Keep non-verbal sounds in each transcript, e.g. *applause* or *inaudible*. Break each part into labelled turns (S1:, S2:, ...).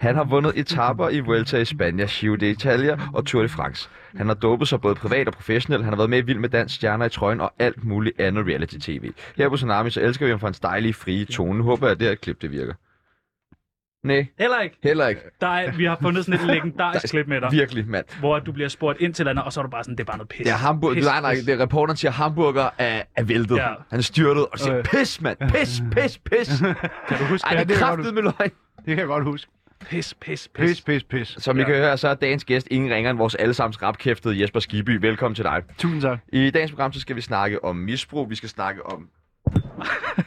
S1: Han har vundet etapper i Vuelta i Spanien, Giro d'Italia og Tour de France. Han har dopet sig både privat og professionelt. Han har været med i Vild med Dans, Stjerner i trøjen og alt muligt andet reality-tv. Her på Tsunami, så elsker vi ham for hans dejlige, frie tone. Nu håber jeg, at det her klip, det virker. Nej,
S2: Heller ikke.
S1: heller ikke.
S2: Der er, vi har
S1: *laughs*
S2: fundet sådan et legendarisk klip med dig,
S1: Virkelig, mand.
S2: hvor du bliver spurgt ind til andet, og så er du bare sådan, det er bare noget pis.
S1: Det er Hamburg,
S2: Pis,
S1: nej, nej,
S2: pis.
S1: det er reporteren siger, at hamburger er, er væltet.
S2: Ja.
S1: Ja. Han er styrtet og siger,
S3: Øh.
S1: pis, mand, pis, pis, pis.
S2: Kan du huske
S1: Ej,
S3: Ja,
S2: det?
S1: det er
S3: det er godt.
S1: kraftet med løgn.
S3: Det kan jeg godt huske.
S2: Pis, pis, pis.
S3: Pis, Altså, pis, pis.
S1: Som I
S2: Ja.
S1: kan høre, så er dagens gæst ingen ringer end vores allesammens rapkæftede Jesper Skiby. Velkommen til dig.
S3: Tusind tak.
S1: I dagens program, så skal vi snakke om misbrug. Vi skal snakke
S2: *laughs*
S1: om...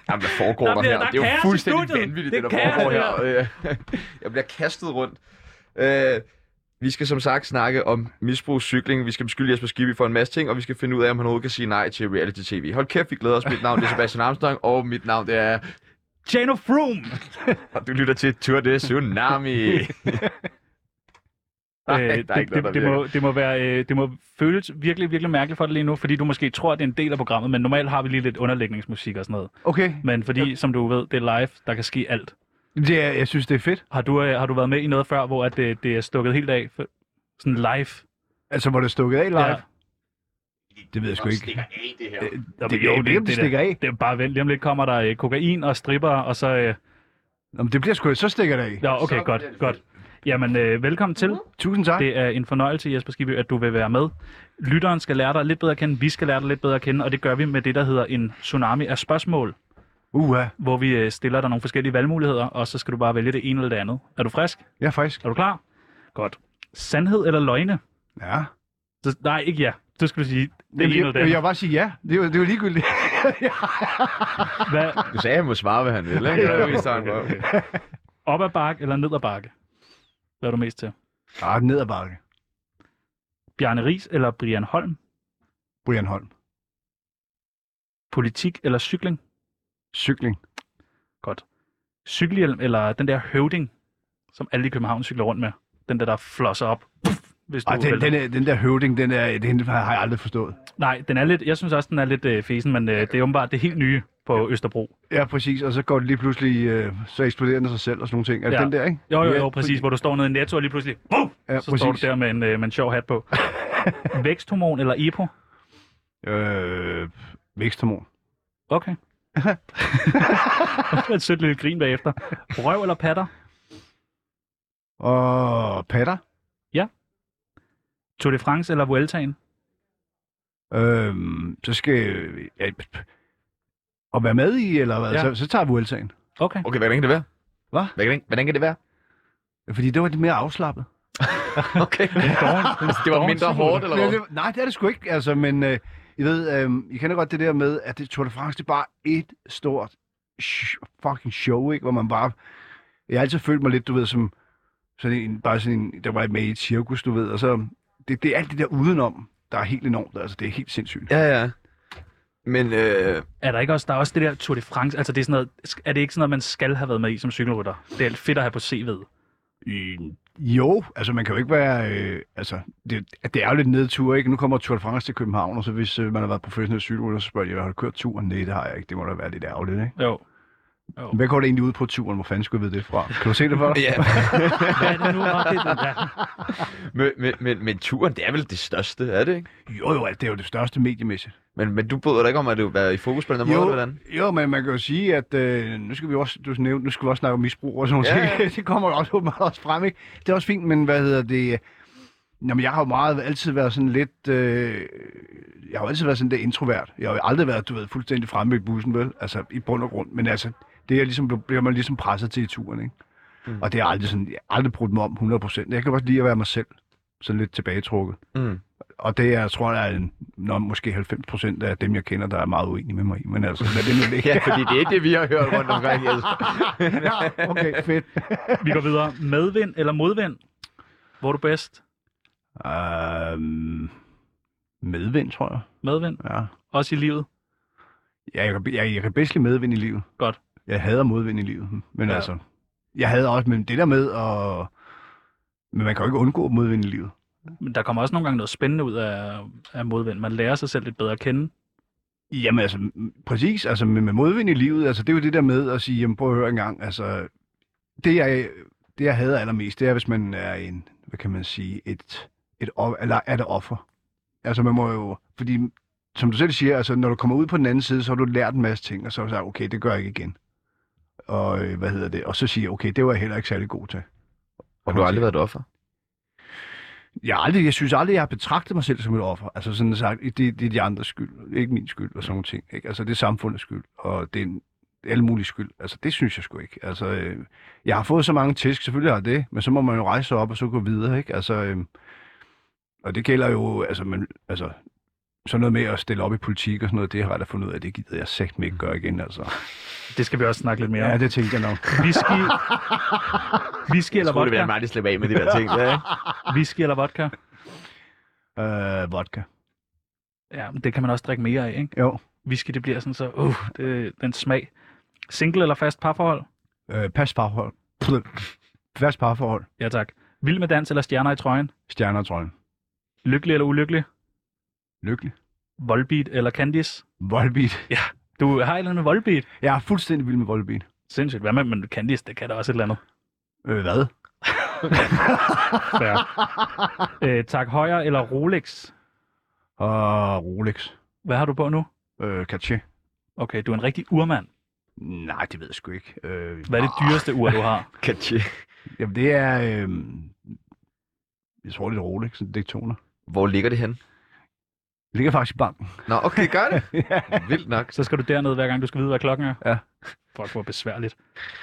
S1: Jamen, hvad foregår
S2: Der
S1: der,
S2: bliver-
S1: her?
S2: der er
S1: det er jo
S2: kaos i
S1: fuldstændig
S2: studiet.
S1: vanvittigt,
S2: Det
S1: det,
S2: er
S1: det der foregår her.
S2: kaos,
S1: Øh, *laughs* Jeg bliver kastet rundt. Øh, Vi skal som sagt snakke om misbrugscykling. Vi skal beskylde Jesper Skibby for en masse ting, og vi skal finde ud af, om han overhovedet kan sige nej til reality-tv. Hold kæft, vi glæder os. Mit navn det er Sebastian Armstrong, og mit navn det er...
S2: Jano
S1: *laughs*
S2: Froome!
S1: Og du lytter til Tour de
S2: *laughs*
S1: Tsunami. Nej, der er ikke noget,
S2: Øh, det,
S1: der
S2: det, det,
S1: virker.
S2: må, det, må være, øh, det må føles virkelig, virkelig mærkeligt for dig lige nu, fordi du måske tror, at det er en del af programmet, men normalt har vi lige lidt underlægningsmusik og sådan noget.
S3: Okay.
S2: Men fordi, ja. som du ved, det er live, der kan ske alt.
S3: Det er, jeg synes, det er fedt.
S2: Har du, øh, har du været med i noget før, hvor at øh, det, det er stukket helt af? For, sådan live?
S3: Altså, hvor det er stukket af live.
S2: Ja.
S3: Det ved jeg sgu ikke. Øh,
S2: Nå,
S3: Det,
S2: men
S3: jo, det, det,
S2: er
S3: det
S2: der-
S3: stikker af.
S2: Det er bare vent. Lige om lidt kommer der øh, kokain og stripper, og så... Øh,
S3: Nå, men det bliver sgu, så stikker det af.
S2: ja, okay, godt, godt. Jamen, øh, velkommen til.
S3: Tusind Mhm, tak.
S2: Det er en fornøjelse, Jesper Skibby, at du vil være med. Lytteren skal lære dig lidt bedre at kende, vi skal lære dig lidt bedre at kende, og det gør vi med det, der hedder en tsunami af spørgsmål,
S3: Uha,
S2: hvor vi øh, stiller dig nogle forskellige valgmuligheder, og så skal du bare vælge det ene eller det andet. Er du frisk?
S3: jeg er frisk.
S2: Er du klar? Godt. Sandhed eller løgne?
S3: Ja.
S2: Så, nej, ikke ja. Så skal du sige, det ene eller
S3: Jeg,
S2: det
S3: jeg,
S2: andet.
S3: jeg vil bare sige ja. Det er jo, det er jo ligegyldigt. *laughs*
S2: Hvad,
S1: Du sagde, at han må svare, hvad han
S2: *laughs*
S1: vil, ikke?
S3: Jo, jo.
S1: Vi starter på.
S2: op ad bakke eller ned ad bakke? Hvad er du mest til?
S3: Ah, ned ad bakke.
S2: Bjarne Ries eller Brian Holm?
S3: Brian Holm.
S2: Politik eller cykling?
S3: Cykling.
S2: Godt. Cykelhjelm eller den der høvding, som alle i København cykler rundt med. Den der, der flosser op. Puff, hvis du
S3: Ah, den,
S2: vælter.
S3: den, er, den der høvding, den, er, den har jeg aldrig forstået.
S2: Nej, den er lidt, jeg synes også, den er lidt øh, fesen, men øh, det er åbenbart det helt nye på Østerbro.
S3: Ja, præcis. Og så går det lige pludselig, øh, så eksploderer den sig selv og sådan nogle ting. Er det
S2: Ja.
S3: den der, ikke?
S2: Jo, jo,
S3: Ja,
S2: jo, præcis, hvor du står nede i Netto og lige pludselig, wow,
S3: Ja,
S2: så står du
S3: præcis.
S2: der med en, øh, med en sjov hat på. Væksthormon eller EPO?
S3: Øh, væksthormon.
S2: Okay. Et sødt lille grin bagefter. Røv eller patter?
S3: Og patter.
S2: Tour de France eller Vueltaen?
S3: Øh, så skal ja, at være med i, eller hvad?
S2: Ja.
S3: Ja. Så, så tager vi Vueltaen.
S2: Okay.
S1: *laughs* Okay, hvordan kan det være?
S3: Hvad?
S1: Hvordan kan det, hvordan kan det
S2: *laughs*
S1: være?
S3: Fordi det var lidt mere afslappet.
S1: Okay. Altså, det var mindre hårdt, eller
S3: Ja,
S1: hvad?
S3: det, nej, det er det sgu ikke, altså, men øh, I ved, øh, I kender godt det der med, at det, Tour de France, det er bare et stort sh- fucking show, ikke? Hvor man bare... Jeg har altid følt mig lidt, du ved, som sådan en, bare sådan en, der var med i et cirkus, du ved, og så... Det, det er alt det der udenom, der er helt enormt, altså, det er helt sindssygt.
S1: Ja, ja. Men øh,
S2: Er der ikke også, der er også det der Tour de France, altså det er sådan noget, er det ikke sådan noget, man skal have været med i som cykelrytter? Det er alt fedt at have på CV'et.
S3: Øh, jo, altså man kan jo ikke være, øh, altså det, det er jo lidt nedtur, ikke? Nu kommer Tour de France til København, og så hvis øh, man har været professionel cykelrytter, så spørger de, har du kørt turen? Nej, det har jeg ikke, det må da være lidt ærgerligt, ikke?
S2: Jo.
S3: Hvad går det egentlig ud på turen? Hvor fanden skulle jeg vide det fra? Kan du se det for
S1: *laughs*
S3: dig?
S1: ja.
S2: Hvad er det nu? Nå, det er den der.
S1: men, men, men, men turen, det er vel det største, er det ikke?
S3: Jo, jo, altså, det er jo det største mediemæssigt.
S1: Men, men du bryder dig ikke om, at det være i fokus på den der måde,
S3: jo,
S1: eller hvordan?
S3: jo, men man kan jo sige, at øh, nu skal vi også, du nævnte, nu skal vi også snakke om misbrug og sådan
S1: Ja,
S3: noget.
S1: ja.
S3: Ja. *laughs* det kommer jo også åbenbart også frem, ikke? Det er også fint, men hvad hedder det? Jamen, jeg har jo meget, altid været sådan lidt... Øh, jeg har jo altid været sådan lidt introvert. Jeg har jo aldrig været, du ved, fuldstændig fremme i bussen, vel? Altså, i bund og grund. Men altså, det er ligesom, bliver man ligesom presset til i turen, ikke? Mm. Og det er aldrig sådan, jeg har aldrig brugt mig om 100%. Jeg kan godt lide at være mig selv. Sådan lidt tilbagetrukket.
S1: Mm.
S3: Og det er, tror jeg, en, når måske 90 procent af dem, jeg kender, der er meget uenige med mig i. Men altså, lad det nu
S2: *laughs*
S3: ligge.
S1: Ja, fordi det er ikke det, vi har hørt rundt omkring. Altså.
S3: *laughs* ja, okay, fedt.
S2: Vi går videre. Medvind eller modvind? Hvor er du bedst?
S3: Øhm, medvind, tror jeg.
S2: Medvind.
S3: Ja.
S2: Også i livet.
S3: Ja, jeg, kan- jeg, jeg kan bedst lide medvind i livet.
S2: Godt.
S3: Jeg hader modvind i livet. Men
S2: Ja.
S3: ja. altså, jeg havde også, men det der med at... Men man kan jo ikke undgå modvind i livet.
S2: Men der kommer også nogle gange noget spændende ud af, af modvind. Man lærer sig selv lidt bedre at kende.
S3: Jamen altså, m- præcis, altså med, med modvind i livet, altså det er jo det der med at sige, jamen prøv at høre en gang, altså det jeg det, jeg hader allermest, det er, hvis man er en, hvad kan man sige, et, et op, eller er det offer. Altså, man må jo, fordi som du selv siger, altså, når du kommer ud på den anden side, så har du lært en masse ting, og så er du sagt, okay, det gør jeg ikke igen. Og øh, hvad hedder det? Og så siger jeg, okay, det var jeg heller ikke særlig god til.
S1: Og du har aldrig været et offer?
S3: Jeg, har aldrig, jeg synes aldrig, jeg har betragtet mig selv som et offer. Altså sådan sagt, det, det er de andres skyld, ikke min skyld og sådan nogle ting. Ikke? Altså det er samfundets skyld, og det er en- alle mulige skyld. Altså det synes jeg sgu ikke. Altså øh, jeg har fået så mange tæsk, selvfølgelig har jeg det, men så må man jo rejse sig op og så gå videre. Ikke? Altså, øh, og det gælder jo, altså, man, altså sådan noget med at stille op i politik og sådan noget, det har jeg da fundet ud af, det gider jeg sagt ikke gøre igen. Altså.
S2: Det skal vi også snakke lidt mere om.
S3: Ja, det tænkte jeg nok.
S2: Whisky, whisky eller
S1: Skulle det være
S2: vodka?
S1: mig, der slipper af med de der ting? Ja, ikke?
S2: Whisky eller vodka?
S3: Øh, vodka.
S2: Ja, men det kan man også drikke mere af, ikke?
S3: Jo.
S2: Whisky, det bliver sådan så, uh, det, den smag. Single eller fast parforhold?
S3: Øh, pas parforhold. Fast parforhold.
S2: Ja, tak. Vild med dans eller stjerner i trøjen?
S3: Stjerner og trolden.
S2: Lykkelig eller ulykkelig?
S3: Lykkelig.
S2: Volbeat eller Candice?
S3: Volbeat.
S2: Du har et eller andet med Volbeat.
S3: Jeg er fuldstændig vild med Volbeat.
S2: Sindssygt. Hvad med, men Candice, det kan da også et eller andet.
S3: Øh, hvad?
S2: Fair. øh, tak højre eller Rolex?
S3: Og Øh, Rolex.
S2: Hvad har du på nu?
S3: Øh, Cartier.
S2: Okay, du er en rigtig urmand.
S3: Nej, det ved jeg sgu ikke. Øh,
S2: Hvad er det
S3: ah,
S2: dyreste ur, du har?
S1: Katje.
S3: Jamen, det er... Øh, jeg tror, det er Rolex, en Daytona.
S1: Hvor ligger det henne?
S3: Det ligger faktisk i
S2: *laughs*
S3: banken.
S1: Nå, okay, gør det. Vildt nok.
S2: Så skal du derned, hver gang du skal vide, hvad klokken er.
S3: Ja.
S2: Fuck, hvor besværligt.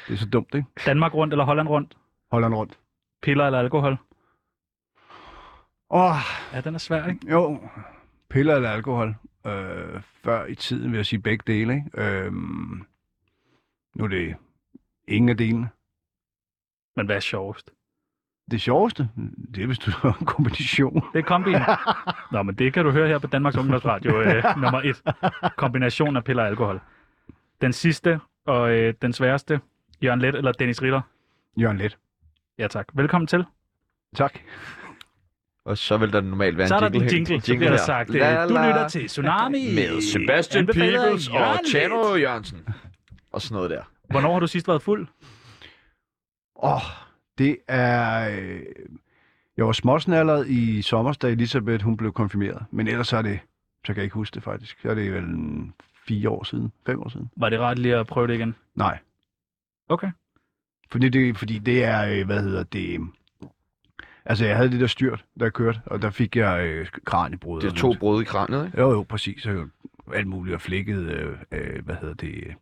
S3: Det er så dumt, ikke?
S2: Danmark rundt eller Holland rundt?
S3: Holder den rundt.
S2: Piller eller alkohol?
S3: Åh, oh,
S2: Ja, den er svær, ikke?
S3: jo. Piller eller alkohol? Øh, før i tiden vil jeg sige begge dele, ikke? Øh, nu er det ingen af delene.
S2: Men hvad er sjovest?
S3: Det sjoveste, det er, hvis du har *laughs* en kombination.
S2: Det er
S1: *laughs*
S2: kombinen. Nå, men det kan du høre her på Danmarks Ungdomsradio øh, nummer et. Kombination af piller og alkohol. Den sidste og øh, den sværeste, Jørgen Let eller Dennis Ritter.
S3: Jørgen Let.
S2: Ja tak. Velkommen til.
S3: Tak.
S1: Og så vil der normalt være
S2: Så er der
S1: en
S2: din
S1: jingle.
S2: jingle, så bliver der
S1: her.
S2: sagt, øh,
S1: La,
S2: du
S1: la.
S2: lytter til Tsunami.
S1: Med Sebastian
S2: anbefalet af
S1: Peebles og
S2: Jørgen
S1: Chano
S2: Leth.
S1: Jørgensen. Og sådan noget der.
S2: Hvornår har du sidst været fuld?
S3: Åh, oh, det er... Øh, jeg var småsnallet i sommer, da Elisabeth hun blev konfirmeret. Men ellers så er det... Så kan jeg ikke huske det faktisk. Så er det vel en fire år siden, fem år siden.
S2: Var det rart lige at prøve det igen?
S3: Nej.
S2: Okay.
S3: Fordi det, fordi det er, øh, hvad hedder det... øh, Altså, jeg havde det der styrt, der jeg kørte, og der fik jeg øh, kraniebrud.
S1: Det er to brud i kranet, ikke?
S3: Jo, jo, præcis. Og alt muligt, og flækket, øh, øh, hvad hedder det, øh,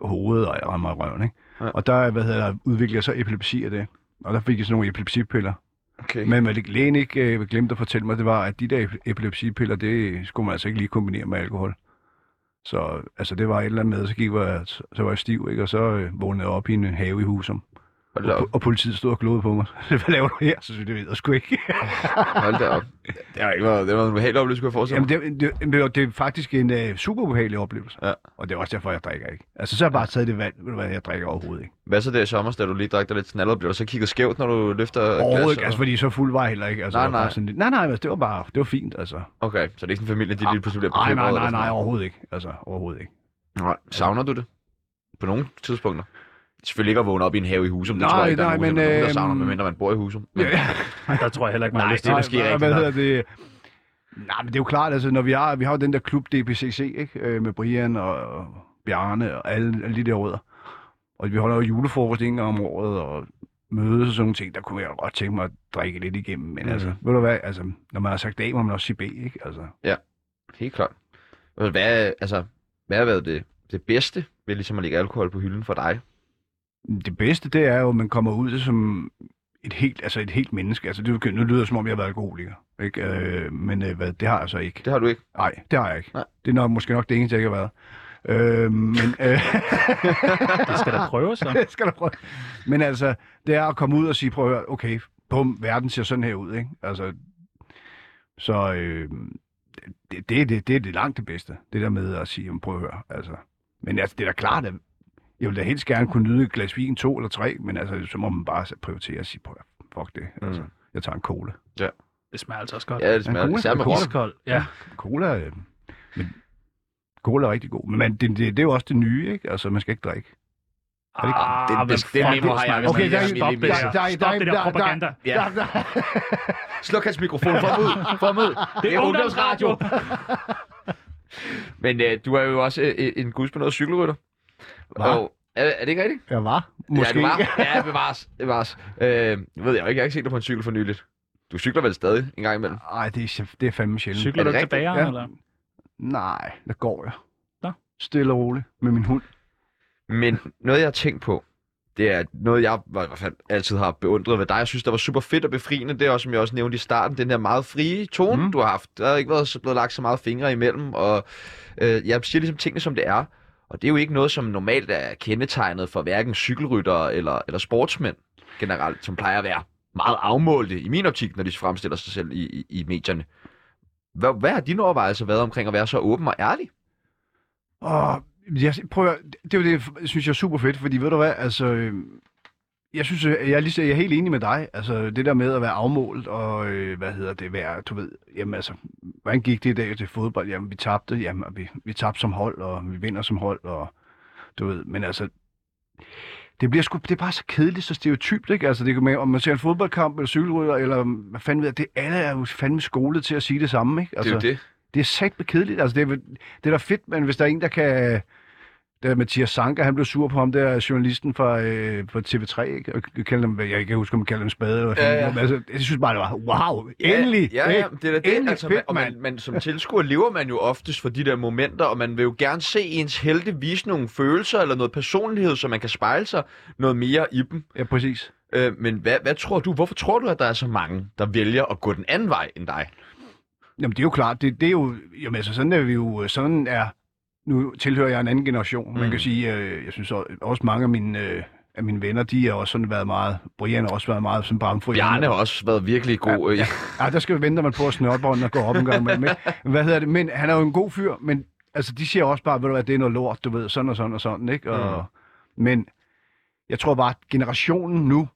S3: hovedet og rammer i røven, ikke?
S1: Ja.
S3: Ja. Og der, hvad hedder, der udviklede jeg så epilepsi af det. Og der fik jeg sådan nogle epilepsipiller.
S1: Okay.
S3: Men hvad det- lægen ikke øh, glemte at fortælle mig, det var, at de der ep- epilepsipiller, det skulle man altså ikke lige kombinere med alkohol. Så altså, det var et eller andet med, så, gik jeg, så var jeg stiv, ikke? og så øh, vågnede jeg op i en have i Husum.
S1: Hold da
S3: Og,
S1: op.
S3: po- og politiet stod og glodede på mig. *laughs* Hvad laver du her? Så synes jeg, det ved jeg sgu ikke.
S1: Hold da op. Det har ikke været, det har været en ubehagelig oplevelse, kunne jeg forestille
S3: Jamen,
S1: mig.
S3: det, det, det, var- det er faktisk en uh, super ubehagelig oplevelse.
S1: Ja.
S3: Og det er også derfor, jeg drikker ikke. Altså, så har jeg bare taget det valg, ved du hvad, jeg drikker overhovedet ikke.
S1: Hvad så der i sommer, da du lige drak dig lidt snallet, bliver du så kigget skævt, når du løfter et
S3: Overhovedet
S1: glas?
S3: ikke, altså, fordi så fuld var jeg heller ikke. Altså,
S1: Nej,
S3: det var bare
S1: nej.
S3: Sådan, lidt- nej, nej, altså, det var bare, det var fint, altså.
S1: Okay, så det er ikke sådan en familie, de lige pludselig bliver
S3: Ah, Nej, nej,
S1: bekymrede eller
S3: nej,
S1: sådan
S3: nej,
S1: noget?
S3: overhovedet ikke. Altså, overhovedet ikke.
S1: Nej, savner du det? På nogle tidspunkter? Selvfølgelig ikke at vågne op i en have i Husum. Det
S3: Nej,
S1: tror jeg ikke, der
S3: nej,
S1: er nogen,
S3: men,
S1: nogen, der
S3: øh,
S1: savner, medmindre man bor i Husum. Men,
S3: Ja.
S2: Der tror jeg heller ikke, man har
S1: Nej,
S2: lyst
S1: det
S2: til
S1: er
S2: det.
S1: måske
S3: hvad-
S1: rigtigt
S3: Hvad
S1: nok.
S3: hedder det? Nej, men det er jo klart, altså, når vi har, vi har jo den der klub DPCC, ikke? Øh, Med Brian og, og Bjarne og alle, alle de der rødder. Og vi holder jo julefrokost en gang om året, og mødes og sådan nogle ting, der kunne jeg godt tænke mig at drikke lidt igennem. Men
S1: Mhm.
S3: mm. altså, ved du hvad, altså, når man har sagt A, må man også sige B, ikke? Altså,
S1: Helt klart. Og Hvad, altså, hvad har været det, det bedste ved ligesom at lægge alkohol på hylden for dig?
S3: det bedste, det er jo, at man kommer ud som et helt, altså et helt menneske. Altså, det, er jo- nu lyder det, som om jeg har været alkoholiker, ikke? Øh, men øh, hvad, det har jeg så ikke.
S1: Det har du ikke.
S3: Nej, det har jeg ikke.
S1: Nej.
S3: Nej. Det er nok, måske nok det eneste, jeg ikke har været. Øh, men, øh, *laughs*
S2: Det skal da prøve så.
S3: skal du prøve. men altså, det er at komme ud og sige, prøv at høre, okay, bum, verden ser sådan her ud, ikke? Altså, så øh, det, det, det, det er det langt det bedste, det der med at sige, jamen, prøv at høre, altså. Men altså, det er da klart, at jeg ville da helst gerne kunne nyde et glas vin, to eller tre, men altså, så må man bare prioritere og sige, prøv at høre, fuck det, altså.
S1: Mm.
S3: Jeg tager en cola.
S2: Det smager altså også godt.
S1: Ja, det
S3: Men
S1: smager
S3: cola-
S1: ligesom- især med
S3: cola-
S1: rom.
S2: Iskold. Ja.
S3: Cola, øh, men cola er rigtig god. Men man- det, det, det er jo også det nye, ikke? Altså, man skal ikke drikke.
S1: det-
S2: Ah,
S1: det-
S2: hvem
S1: det-
S2: fuck
S1: det-
S2: vil
S4: har jeg
S2: snakke om
S4: vist
S3: Okay,
S2: det?
S3: der,
S4: lige-
S3: der,
S4: jeg-
S2: Stop det der.
S3: der,
S2: Stop det der propaganda.
S3: Der, der, der,
S1: Sluk hans mikrofon. Få ud. Få ud.
S2: Det er ungdomsradio.
S1: Men øh, du er jo også øh, en gudsbenået cykelrytter.
S3: Hva?
S1: Og, er, er det ikke rigtigt?
S3: jeg var. Måske.
S1: Ja,
S3: *laughs*
S1: du var. Ja, bevares. bevares. Øh, nu ved jeg jo ikke, jeg har ikke set dig på en cykel for nyligt. Du cykler vel stadig en gang imellem?
S3: Nej, det, er sjæ- det er fandme sjældent.
S2: Cykler
S1: Er
S2: du
S1: det rigtigt?
S2: tilbage,
S3: Ja.
S2: eller?
S3: Nej, der går jeg.
S2: Nå.
S3: Stille og roligt med min hund.
S1: Men noget, jeg har tænkt på, det er noget, jeg i hvert fald altid har beundret ved dig. Jeg synes, der var super fedt og befriende. Det er også, som jeg også nævnte i starten, den der meget frie tone,
S3: Mm.
S1: mm. du har haft. Der har ikke været så blevet lagt så meget fingre imellem, og øh, jeg siger ligesom tingene, som det er. Og det er jo ikke noget, som normalt er kendetegnet for hverken cykelryttere eller, eller sportsmænd generelt, som plejer at være meget afmålte i min optik, når de fremstiller sig selv i, i, i medierne. Hvad, hvad har dine overvejelser været omkring at være så åben og ærlig?
S3: Og jeg, prøv at, høre, det er jo det, jeg synes jeg er super fedt, fordi ved du hvad, altså, øh, jeg synes, øh, jeg er, lige, så- jeg er helt enig med dig, altså det der med at være afmålt, og øh, hvad hedder det, være, du ved, jamen altså, hvordan gik det i dag til fodbold, jamen vi tabte, jamen og vi, vi tabte som hold, og vi vinder som hold, og du ved, men altså, det bliver sgu, det er bare så kedeligt, så stereotypt, ikke? Altså, det kan, man- om man ser en fodboldkamp, eller cykelrytter, eller hvad fanden ved jeg, det alle er jo fandme skolet til at sige det samme, ikke? Altså,
S1: det.
S3: det er satme kedeligt. Altså, det, er, vel- det er da fedt, men hvis der er en, der kan... Da Mathias Sanker, han blev sur på ham, der journalisten fra, øh, fra TV3, ikke? Og kaldte ham, jeg kan ikke huske, om han kaldte ham spade, eller hvad
S1: Ja,
S3: fanden.
S1: ja.
S3: Altså, jeg synes bare, det var, wow, endelig!
S1: Ja, ja, ja.
S3: ikke?
S1: det er da det.
S3: Endelig
S1: altså,
S3: fedt,
S1: man, og man,
S3: mand.
S1: man, som tilskuer lever man jo oftest for de der momenter, og man vil jo gerne se ens helte vise nogle følelser eller noget personlighed, så man kan spejle sig noget mere i dem.
S3: ja præcis.
S1: Øh, men hvad, hvad tror du? Hvorfor tror du, at der er så mange, der vælger at gå den anden vej end dig?
S3: Jamen, det er jo klart, det, det er jo... Jamen, altså, sådan er vi jo... Sådan er... Nu tilhører jeg en anden generation. Man
S1: Mm.
S3: kan sige, øh, jeg synes også, også mange af mine, øh, af mine venner, de har også sådan været meget... Brian har også været meget sådan bramfri.
S1: Bjarne har også været virkelig god. øh, Ja, ja.
S3: Ja, der skal jo vente, man på at snørbånden og gå op en gang med ikke? Hvad hedder det? Men han er jo en god fyr, men altså, de siger også bare, ved du hvad, det er noget lort, du ved, sådan og sådan og sådan, ikke? Og,
S1: Mm.
S3: Men jeg tror bare, at generationen nu,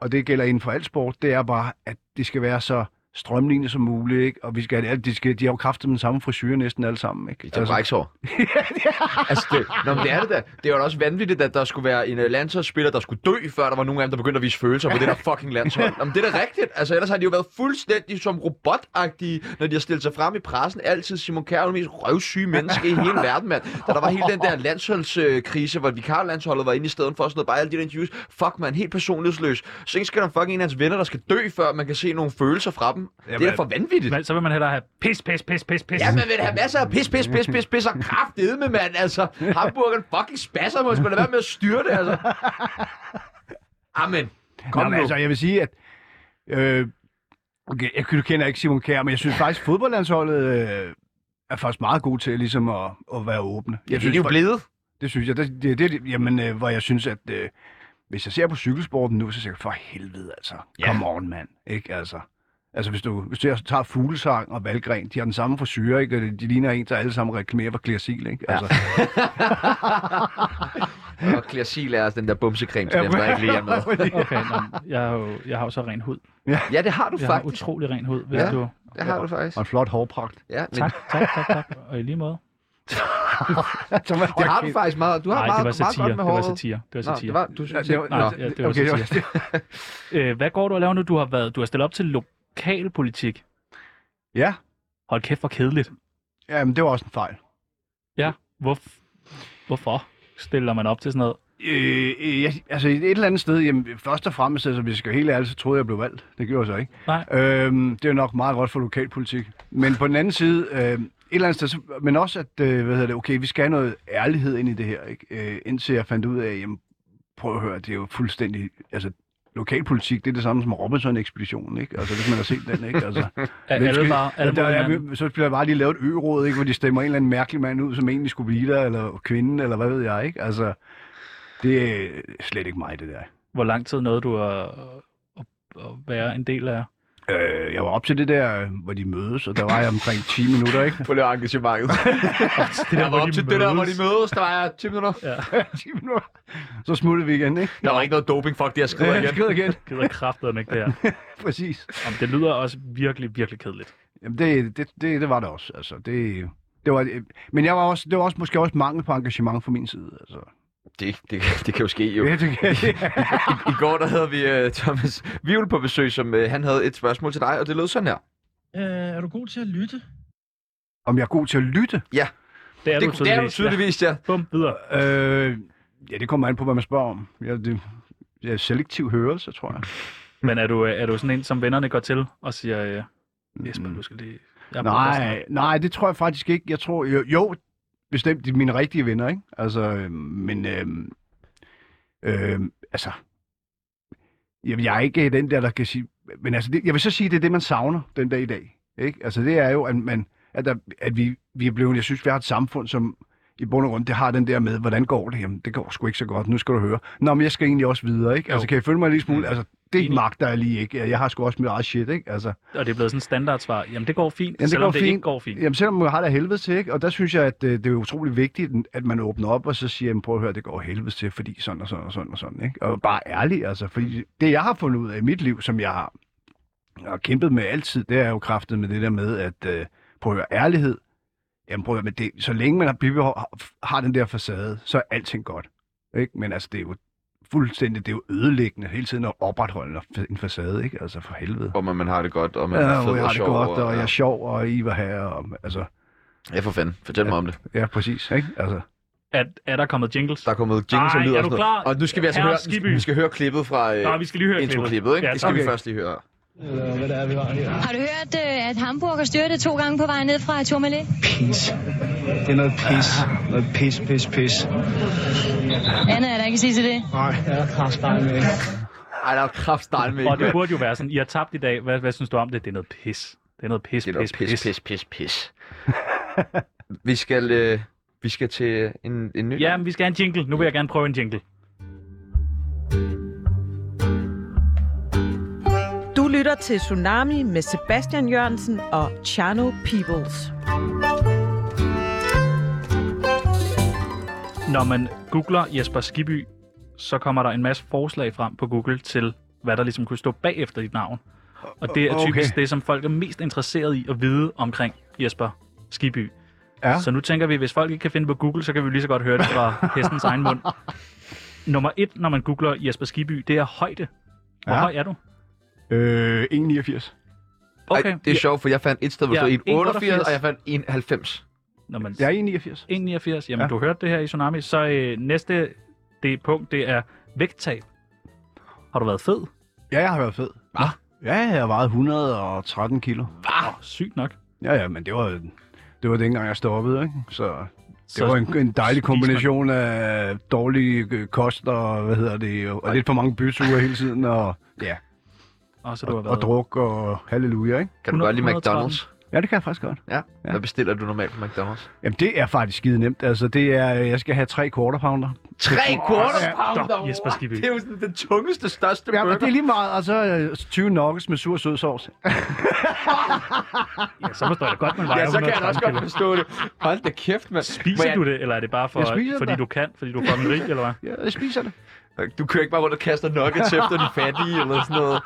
S3: og det gælder inden for al sport, det er bare, at det skal være så strømlignet som muligt, ikke? Og vi skal, have det- de, skal, de har jo kraftet den samme frisyr næsten alle sammen, ikke?
S1: Det er *laughs* bræksår. altså, det, nå, men det er det da. Det var da også vanvittigt, at der skulle være en uh, landsholdsspiller, der skulle dø, før der var nogen af dem, der begyndte at vise følelser *laughs* på det der fucking landshold. Nå, men det er da rigtigt. Altså, ellers har de jo været fuldstændig som robotagtige, når de har stillet sig frem i pressen. Altid Simon Kjær er jo den mest røvsyge menneske i hele verden, mand. Da der var hele den der landsholdskrise, hvor vikarlandsholdet var inde i stedet for sådan noget, bare alle de der interviews. Fuck, man, helt personlighedsløs. Så ikke skal der fucking en af hans venner, der skal dø, før man kan se nogle følelser fra dem. Jamen, det er da for vanvittigt.
S2: Hvad- Så vil man hellere have pis, pis, pis, pis, pis.
S1: Ja, man vil have masser af pis, pis, pis, pis, pis og kraftedme, mand. Altså, hamburgeren fucking spasser, må skulle lade være med at styre det, altså. Amen. Kom
S3: Nå, men
S1: nu.
S3: altså, jeg vil sige, at... Øh, okay, jeg du kender ikke Simon Kjær, men jeg synes faktisk, fodboldlandsholdet øh, er faktisk meget god til ligesom at, at være åbne. Jeg synes, for-
S1: blevet.
S3: det synes jeg. Det, det, det, jamen, øh, hvor jeg synes, at... Øh, hvis jeg ser på cykelsporten nu, så siger jeg, for helvede altså.
S1: Ja.
S3: Come on, mand. Ikke altså. Altså, hvis du, hvis du tager Fuglesang og Valgren, de har den samme frisyr, ikke? Og De ligner en, der alle sammen reklamerer for Clearsil, ikke? Altså,
S1: Og Clearsil er altså den der bumsecreme til
S3: ja,
S1: dem, der ikke lige er
S3: *laughs*
S1: med.
S2: Okay, nå, men jeg har jo jeg har jo så ren hud.
S1: Ja, det har du
S2: Jeg har
S1: faktisk.
S2: utrolig ren hud, hvis
S1: Ja.
S2: du...
S1: Det har du faktisk.
S3: og en flot *laughs* hårpragt.
S1: Ja, men
S2: Tak, tak, tak, tak. Og i lige måde.
S3: Altså,
S1: det har du faktisk meget. Du har
S2: Nej,
S1: meget,
S2: det var
S1: meget
S2: satire.
S1: godt
S2: Det
S1: med
S2: var
S1: håret.
S2: satire. Det
S1: Nå,
S2: var
S1: det
S2: satire.
S1: var, du synes, ikke-
S2: Nå, ja, det var
S3: okay,
S2: satire. Øh, hvad går du og laver nu? Du har, været, du har stillet op til lokalpolitik.
S3: *laughs* ja,
S2: Hold kæft, hvor kedeligt.
S3: jamen, det var også en fejl.
S2: Ja, hvor, hvorfor stiller man op til sådan noget?
S3: Øh, øh, jeg, altså et eller andet sted, jamen, først og fremmest, altså hvis jeg skal være helt ærligt, så troede jeg, jeg blev valgt. Det gjorde jeg så ikke.
S2: Nej.
S3: Øhm, det er nok meget godt for lokalpolitik. Men på den anden side, øh, et eller andet sted, så, men også at, øh, hvad hedder det, okay, vi skal have noget ærlighed ind i det her, ikke? Øh, indtil jeg fandt ud af, jamen, prøv at høre, det er jo fuldstændig, altså lokalpolitik, det er det samme som Robinson-ekspeditionen, ikke? Altså, hvis man har set den, ikke? Altså,
S2: Er
S3: hvem
S2: alle
S3: skal-
S2: bare, alle
S3: der,
S2: mod
S3: er,
S2: hinanden?
S3: vi- så bliver der bare lige lavet et ø-råd, ikke, hvor de stemmer en eller anden mærkelig mand ud, som egentlig skulle blive der, eller kvinden, eller hvad ved jeg, ikke? Altså, det er slet ikke mig, det der.
S2: Hvor lang tid nåede du at, at, at være en del af?
S3: Øh, jeg var op til det der, øh, hvor de mødes, og der var jeg omkring 10 minutter,
S1: *laughs*
S3: ikke?
S1: På det engagementet.
S2: *laughs*
S1: *laughs*
S2: Det
S1: Jeg var op til det der, hvor de
S2: mødes.
S1: mødes. Der var jeg 10 minutter.
S3: 10 minutter. Så smuttede vi igen, ikke?
S1: Der var ikke noget doping. Fuck det, jeg skriver
S3: Jeg
S1: igen.
S3: skrider igen,
S2: Gider kraftedeme ikke det her.
S3: præcis.
S2: Jamen, det lyder også virkelig, virkelig kedeligt.
S3: Jamen, det, det, det, det var det også, altså. Det, det var, men jeg var også, det var også måske også mangel på engagement fra min side, altså.
S1: Det, det, det kan jo ske jo.
S3: Det, det, det,
S1: I går der havde vi uh, Thomas Vivl på besøg, som uh, han havde et spørgsmål til dig, og det lød sådan her.
S4: Øh, er du god til at lytte?
S3: om jeg er god til at lytte?
S2: Det er
S1: det,
S2: du
S1: det er du
S2: tydeligvis.
S1: tydeligvis, ja.
S2: Ja. Bum, videre.
S3: Øh, ja, det kommer an på, hvad man spørger om. Ja, det, ja, selektiv hørelse, tror jeg.
S2: Men er du, øh, er du sådan en, som vennerne går til og siger, øh, Jesper,
S3: Mm.
S2: du skal lige... Jeg har brug for at snakke."
S3: Nej, nej, det tror jeg faktisk ikke. Jeg tror, jo, jo bestemt, de er mine rigtige venner, ikke? Altså, øhm, men, øhm, øhm, altså, jeg, jeg er ikke øh, den der, der kan sige, men altså, det, jeg vil så sige, det er det, man savner den dag i dag, ikke? Altså, det er jo, at, man, at, der, at vi, vi er blevet, jeg synes, vi har et samfund, som i bund og grund, det har den der med, hvordan går det? Jamen, det går sgu ikke så godt, nu skal du høre. Nå, men jeg skal egentlig også videre, ikke? Altså,
S2: Jo. Mm.
S3: kan I følge mig en lille smule? Altså, det
S2: Enig.
S3: magter jeg lige ikke. Jeg har sgu også mit eget shit, ikke? Altså,
S2: Og det er blevet sådan et standardsvar. Jamen, det går fint,
S3: Jamen, det
S2: selvom
S3: går
S2: det
S3: fint.
S2: ikke går fint.
S3: Jamen selvom man har det af helvede til, ikke? og der synes jeg, at øh, det er utrolig vigtigt, at man åbner op og så siger, jamen, prøv at høre, det går af helvede til, fordi sådan og sådan og sådan og sådan. Ikke? Og bare ærlig, altså, fordi det jeg har fundet ud af i mit liv, som jeg har, jeg har kæmpet med altid, det er jo kraftet med det der med, at øh, prøv at høre, ærlighed, jamen prøv at høre, men det, så længe man har, bibeholdt- har- har den der facade, så er alting godt. Ikke? Men altså, det er jo fuldstændig, det er jo ødelæggende hele tiden at opretholde en facade, ikke? Altså for helvede.
S1: Om at man har det godt, og man
S3: Ja,
S1: er fed
S3: og jeg
S1: og
S3: har det
S1: sjov.
S3: godt, og jeg er sjov, og I var her, og altså...
S1: Ja, for fanden. Fortæl mig om det.
S3: Ja, præcis. Ikke? Altså,
S2: Er, er der kommet jingles?
S1: Der er kommet jingles og
S2: Ej,
S1: lyd
S2: er
S1: og
S2: du
S1: sådan
S2: klar?
S1: noget. Og nu skal vi altså
S2: Herre
S1: høre,
S2: Skibby.
S1: vi skal høre klippet fra øh,
S2: Nej, vi skal lige høre
S1: intro-klippet, ikke?
S2: Ja,
S1: Det skal vi
S3: okay.
S1: først lige høre.
S4: Eller hvad det er, vi har her.
S5: Har du hørt, øh, at Hamburger styrte to gange på vej ned fra Tourmalet?
S4: Pis. Det er noget pis. Noget pis, pis, pis.
S5: Andet er der ikke at sige til det.
S4: Nej, jeg er kraftspejl med.
S1: Ej, der er kraftstejl med.
S2: Og det burde jo være sådan, I har tabt i dag. Hvad, hvad synes du om det? Det er noget pis. Det er noget pis,
S1: Det er
S2: pis,
S1: noget pis, pis, pis, pis. vi skal, øh, vi skal til en, en ny...
S2: Ja, men vi skal have en jingle. Nu vil jeg gerne prøve en jingle.
S6: Du lytter til Tsunami med Sebastian Jørgensen og Chano Peoples.
S2: Når man googler Jesper Skiby, så kommer der en masse forslag frem på Google til, hvad der ligesom kunne stå bagefter dit navn. Og det er
S3: Okay.
S2: typisk det, som folk er mest interesseret i at vide omkring Jesper Skiby.
S3: Ja.
S2: Så nu tænker vi, hvis folk ikke kan finde på Google, så kan vi lige så godt høre det fra hestens egen mund. Nummer et, når man googler Jesper Skiby, det er højde. Hvor
S3: Ja.
S2: høj er du?
S3: øh, 1,89.
S1: Okay. Ej, det er sjovt, for jeg fandt et sted, hvor
S2: Ja,
S1: ja, stod
S2: 1,88,
S1: 1,88, og jeg fandt 1,90.
S2: Når man...
S3: Jeg er 1,89.
S2: 1,89. Jamen, ja.
S3: Ja.
S2: du hørte det her i Tsunami. Så øh, næste det punkt, det er vægttab. Har du været fed?
S3: Ja, jeg har været fed.
S1: Hva?
S3: Ja, jeg har vejet 113 kilo.
S2: Ah. Oh, sygt nok.
S3: Ja, ja, men det var, det var dengang, jeg stoppede, ikke? Så det
S2: Så-
S3: var en, en dejlig
S2: spiser
S3: kombination af dårlig øh, kost og, hvad hedder det, og, og lidt for mange byture hele tiden, og, ja,
S2: Og så du
S3: og,
S2: har
S3: og
S2: været...
S3: druk og halleluja, ikke?
S1: Kan du
S2: 100-
S1: godt lide
S2: 113.
S1: McDonald's?
S3: Ja, det kan jeg faktisk godt.
S1: Ja. Hvad bestiller du normalt på McDonald's?
S3: Jamen, det er faktisk skide nemt. Altså, det er, øh, jeg skal have tre quarter pounder.
S1: Tre quarter
S2: stop,
S1: pounder!
S2: Jesper Skibby.
S1: Det er jo sådan den tungeste, største
S3: Ja,
S1: burger.
S3: men det er lige meget. Og så øh, 20 nuggets med sur sødsovs.
S2: Ja, så forstår jeg godt, man vejer
S1: Ja, så kan jeg da også godt
S2: 130 kilo.
S1: forstå det. Hold da kæft, mand. Må
S2: Spiser
S1: jeg-
S2: du det, eller er det bare for,
S3: Jeg spiser
S2: fordi
S3: det.
S2: du kan, fordi du er fucking rig, eller hvad?
S3: Ja, jeg spiser det.
S1: Øh, Du kører ikke bare rundt og kaster nuggets efter de fattige, eller sådan *laughs* noget.